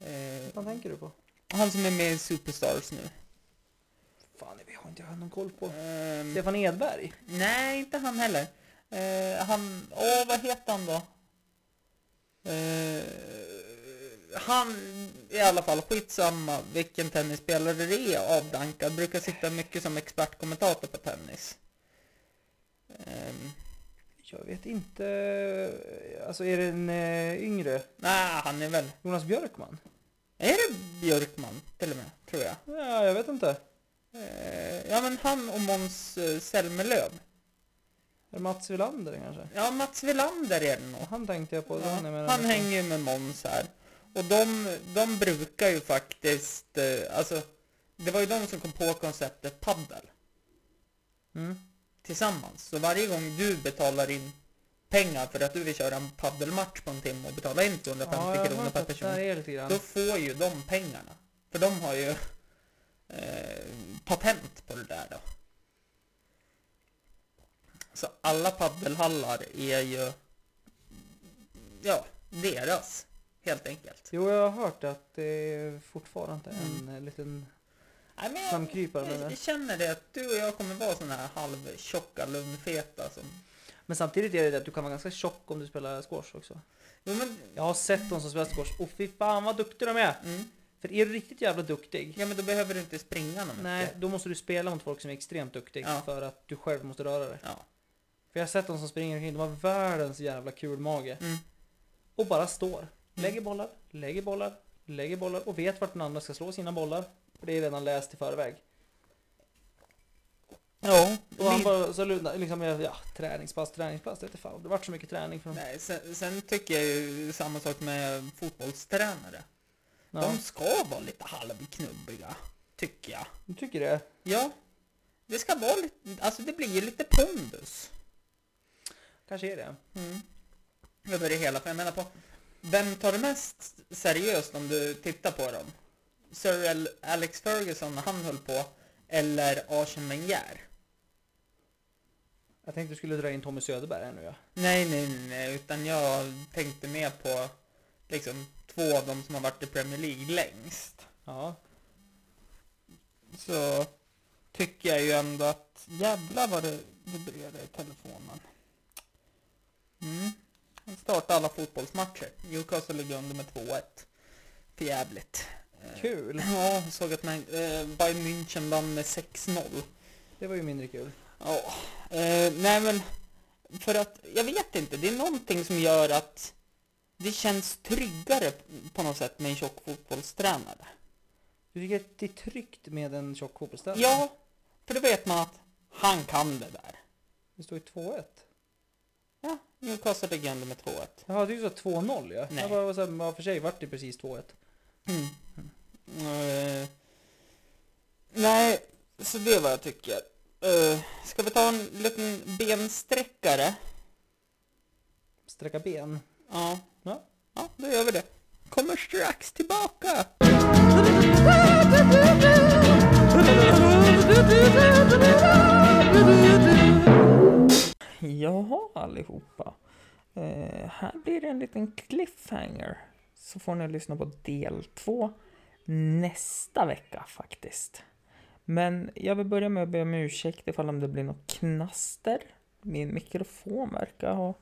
[SPEAKER 4] Eh,
[SPEAKER 2] Vad tänker du på?
[SPEAKER 4] han som är med i Superstars nu.
[SPEAKER 2] Fan, det har inte jag någon koll på.
[SPEAKER 4] Ehm,
[SPEAKER 2] Stefan Edberg?
[SPEAKER 4] Nej, inte han heller. Eh, han, åh vad heter han då? Eh, han, i alla fall skitsamma vilken tennisspelare det är avdankad. Brukar sitta mycket som expertkommentator på tennis. Ehm,
[SPEAKER 2] Jag vet inte. Alltså är det en eh, yngre?
[SPEAKER 4] nej, han är väl,
[SPEAKER 2] Jonas Björkman?
[SPEAKER 4] är det Björkman till och med, tror jag.
[SPEAKER 2] Ja, jag vet inte.
[SPEAKER 4] Eh, ja men han och Måns eh, Zelmerlöw.
[SPEAKER 2] Är det Mats Wilander kanske?
[SPEAKER 4] Ja, Mats Wilander är det nog.
[SPEAKER 2] Han tänkte jag på.
[SPEAKER 4] Ja,
[SPEAKER 2] han är med
[SPEAKER 4] han hänger ju med Måns här. Och de, de brukar ju faktiskt, eh, alltså, det var ju de som kom på konceptet paddel
[SPEAKER 2] Mm.
[SPEAKER 4] tillsammans. Så varje gång du betalar in pengar för att du vill köra en paddelmatch på en timme och betala in 250
[SPEAKER 2] Ja, jag har
[SPEAKER 4] kronor
[SPEAKER 2] hört
[SPEAKER 4] per
[SPEAKER 2] att det där
[SPEAKER 4] person,
[SPEAKER 2] är lite grann.
[SPEAKER 4] då får ju de pengarna. För de har ju eh, patent på det där då. Så alla paddelhallar är ju, ja, deras helt enkelt.
[SPEAKER 2] Jo, jag har hört att det är fortfarande en eh, liten...
[SPEAKER 4] Nej, men jag,
[SPEAKER 2] Slamkrypare,
[SPEAKER 4] jag,
[SPEAKER 2] menar du?
[SPEAKER 4] jag känner det att du och jag kommer vara såna här halvtjocka lundfeta som...
[SPEAKER 2] Men samtidigt är det det att du kan vara ganska tjock om du spelar squash också.
[SPEAKER 4] Jo, men,
[SPEAKER 2] Jag har sett de som spelar squash och fy fan vad duktiga de är!
[SPEAKER 4] mm.
[SPEAKER 2] För är du riktigt jävla duktig,
[SPEAKER 4] ja, men då behöver du inte springa någon
[SPEAKER 2] nej,
[SPEAKER 4] mycket.
[SPEAKER 2] då måste du spela mot folk som är extremt duktiga
[SPEAKER 4] Ja.
[SPEAKER 2] för att du själv måste röra dig.
[SPEAKER 4] Ja.
[SPEAKER 2] För jag har sett de som springer omkring, de har världens jävla kul mage
[SPEAKER 4] Mm.
[SPEAKER 2] och bara står. Lägger bollar, lägger bollar, lägger bollar och vet vart den andra ska slå sina bollar. För det är redan läst i förväg.
[SPEAKER 4] Ja,
[SPEAKER 2] Och han bara så lunda, liksom, ja, träningspass, träningspass, det vete fan. Det vart så mycket träning för dem.
[SPEAKER 4] nej, sen, sen tycker jag ju samma sak med fotbollstränare.
[SPEAKER 2] Ja.
[SPEAKER 4] De ska vara lite halvknubbiga, tycker jag.
[SPEAKER 2] Du tycker det?
[SPEAKER 4] Ja, det ska vara lite, alltså det blir ju lite pondus.
[SPEAKER 2] Kanske är det.
[SPEAKER 4] Mm. Över det hela, för jag menar på, vem tar det mest seriöst om du tittar på dem? Sir Al- Alex Ferguson när han höll på, eller Arsen Wenger?
[SPEAKER 2] Jag tänkte du skulle dra in Tommy Söderberg här nu ja.
[SPEAKER 4] Nej, nej, nej, nej, utan jag tänkte mer på liksom två av dem som har varit i Premier League längst.
[SPEAKER 2] Ja.
[SPEAKER 4] Så tycker jag ju ändå att jävlar vad det vibrerar i telefonen. Mm. Han startar alla fotbollsmatcher. Newcastle ligger under med 2-1. För jävligt. Eh,
[SPEAKER 2] Kul!
[SPEAKER 4] Ja, jag såg att man, eh, Bayern München vann med 6-0.
[SPEAKER 2] Det var ju mindre kul.
[SPEAKER 4] Ja, eh, nej men för att jag vet inte, det är någonting som gör att det känns tryggare på något sätt med en tjock fotbollstränare.
[SPEAKER 2] Du tycker att det är tryggt med en tjock fotbollsställning?
[SPEAKER 4] Ja, för då vet man att han kan det där.
[SPEAKER 2] Det står ju 2-1.
[SPEAKER 4] Ja, Newcastle ligger under med 2-1.
[SPEAKER 2] Jaha, du sa 2-0 ja.
[SPEAKER 4] Nej.
[SPEAKER 2] Jag bara var såhär, men för sig vart det precis 2-1.
[SPEAKER 4] Mm. Eh, nej, så det är vad jag tycker. Uh, ska vi ta en liten bensträckare?
[SPEAKER 2] Sträcka ben.
[SPEAKER 4] Ja.
[SPEAKER 2] Ja.
[SPEAKER 4] Ja, då gör vi det. Kommer strax tillbaka!
[SPEAKER 2] Jaha allihopa. Eh, här blir det en liten cliffhanger. Så får ni lyssna på del två nästa vecka faktiskt. Men jag vill börja med att be om ursäkt ifall om det blir något knaster. Min mikrofon verkar ha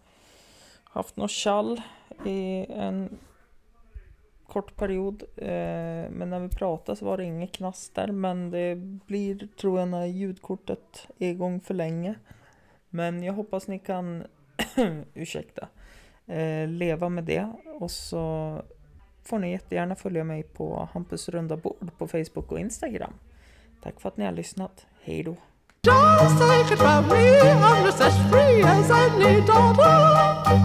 [SPEAKER 2] haft något tjall i en kort period. Eh, men när vi pratade så var det inget knaster. Men det blir tror jag när ljudkortet är igång för länge. Men jag hoppas ni kan, *coughs* ursäkta, eh, leva med det. Och så får ni jättegärna följa mig på Hampus runda bord på Facebook och Instagram. Tack för att ni har lyssnat. Hej då!
[SPEAKER 5] Just take it from me, I'm just as free as any daughter.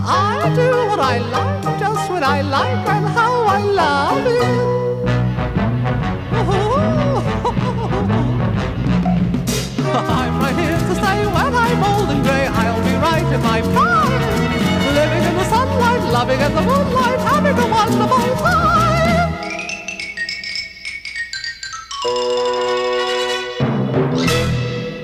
[SPEAKER 5] I do what I like, just when I like, and how I love it. I'm right here to stay when I'm old and grey. I'll be right in my prime, living in the sunlight,
[SPEAKER 4] Loving in the moonlight, having a wonderful time.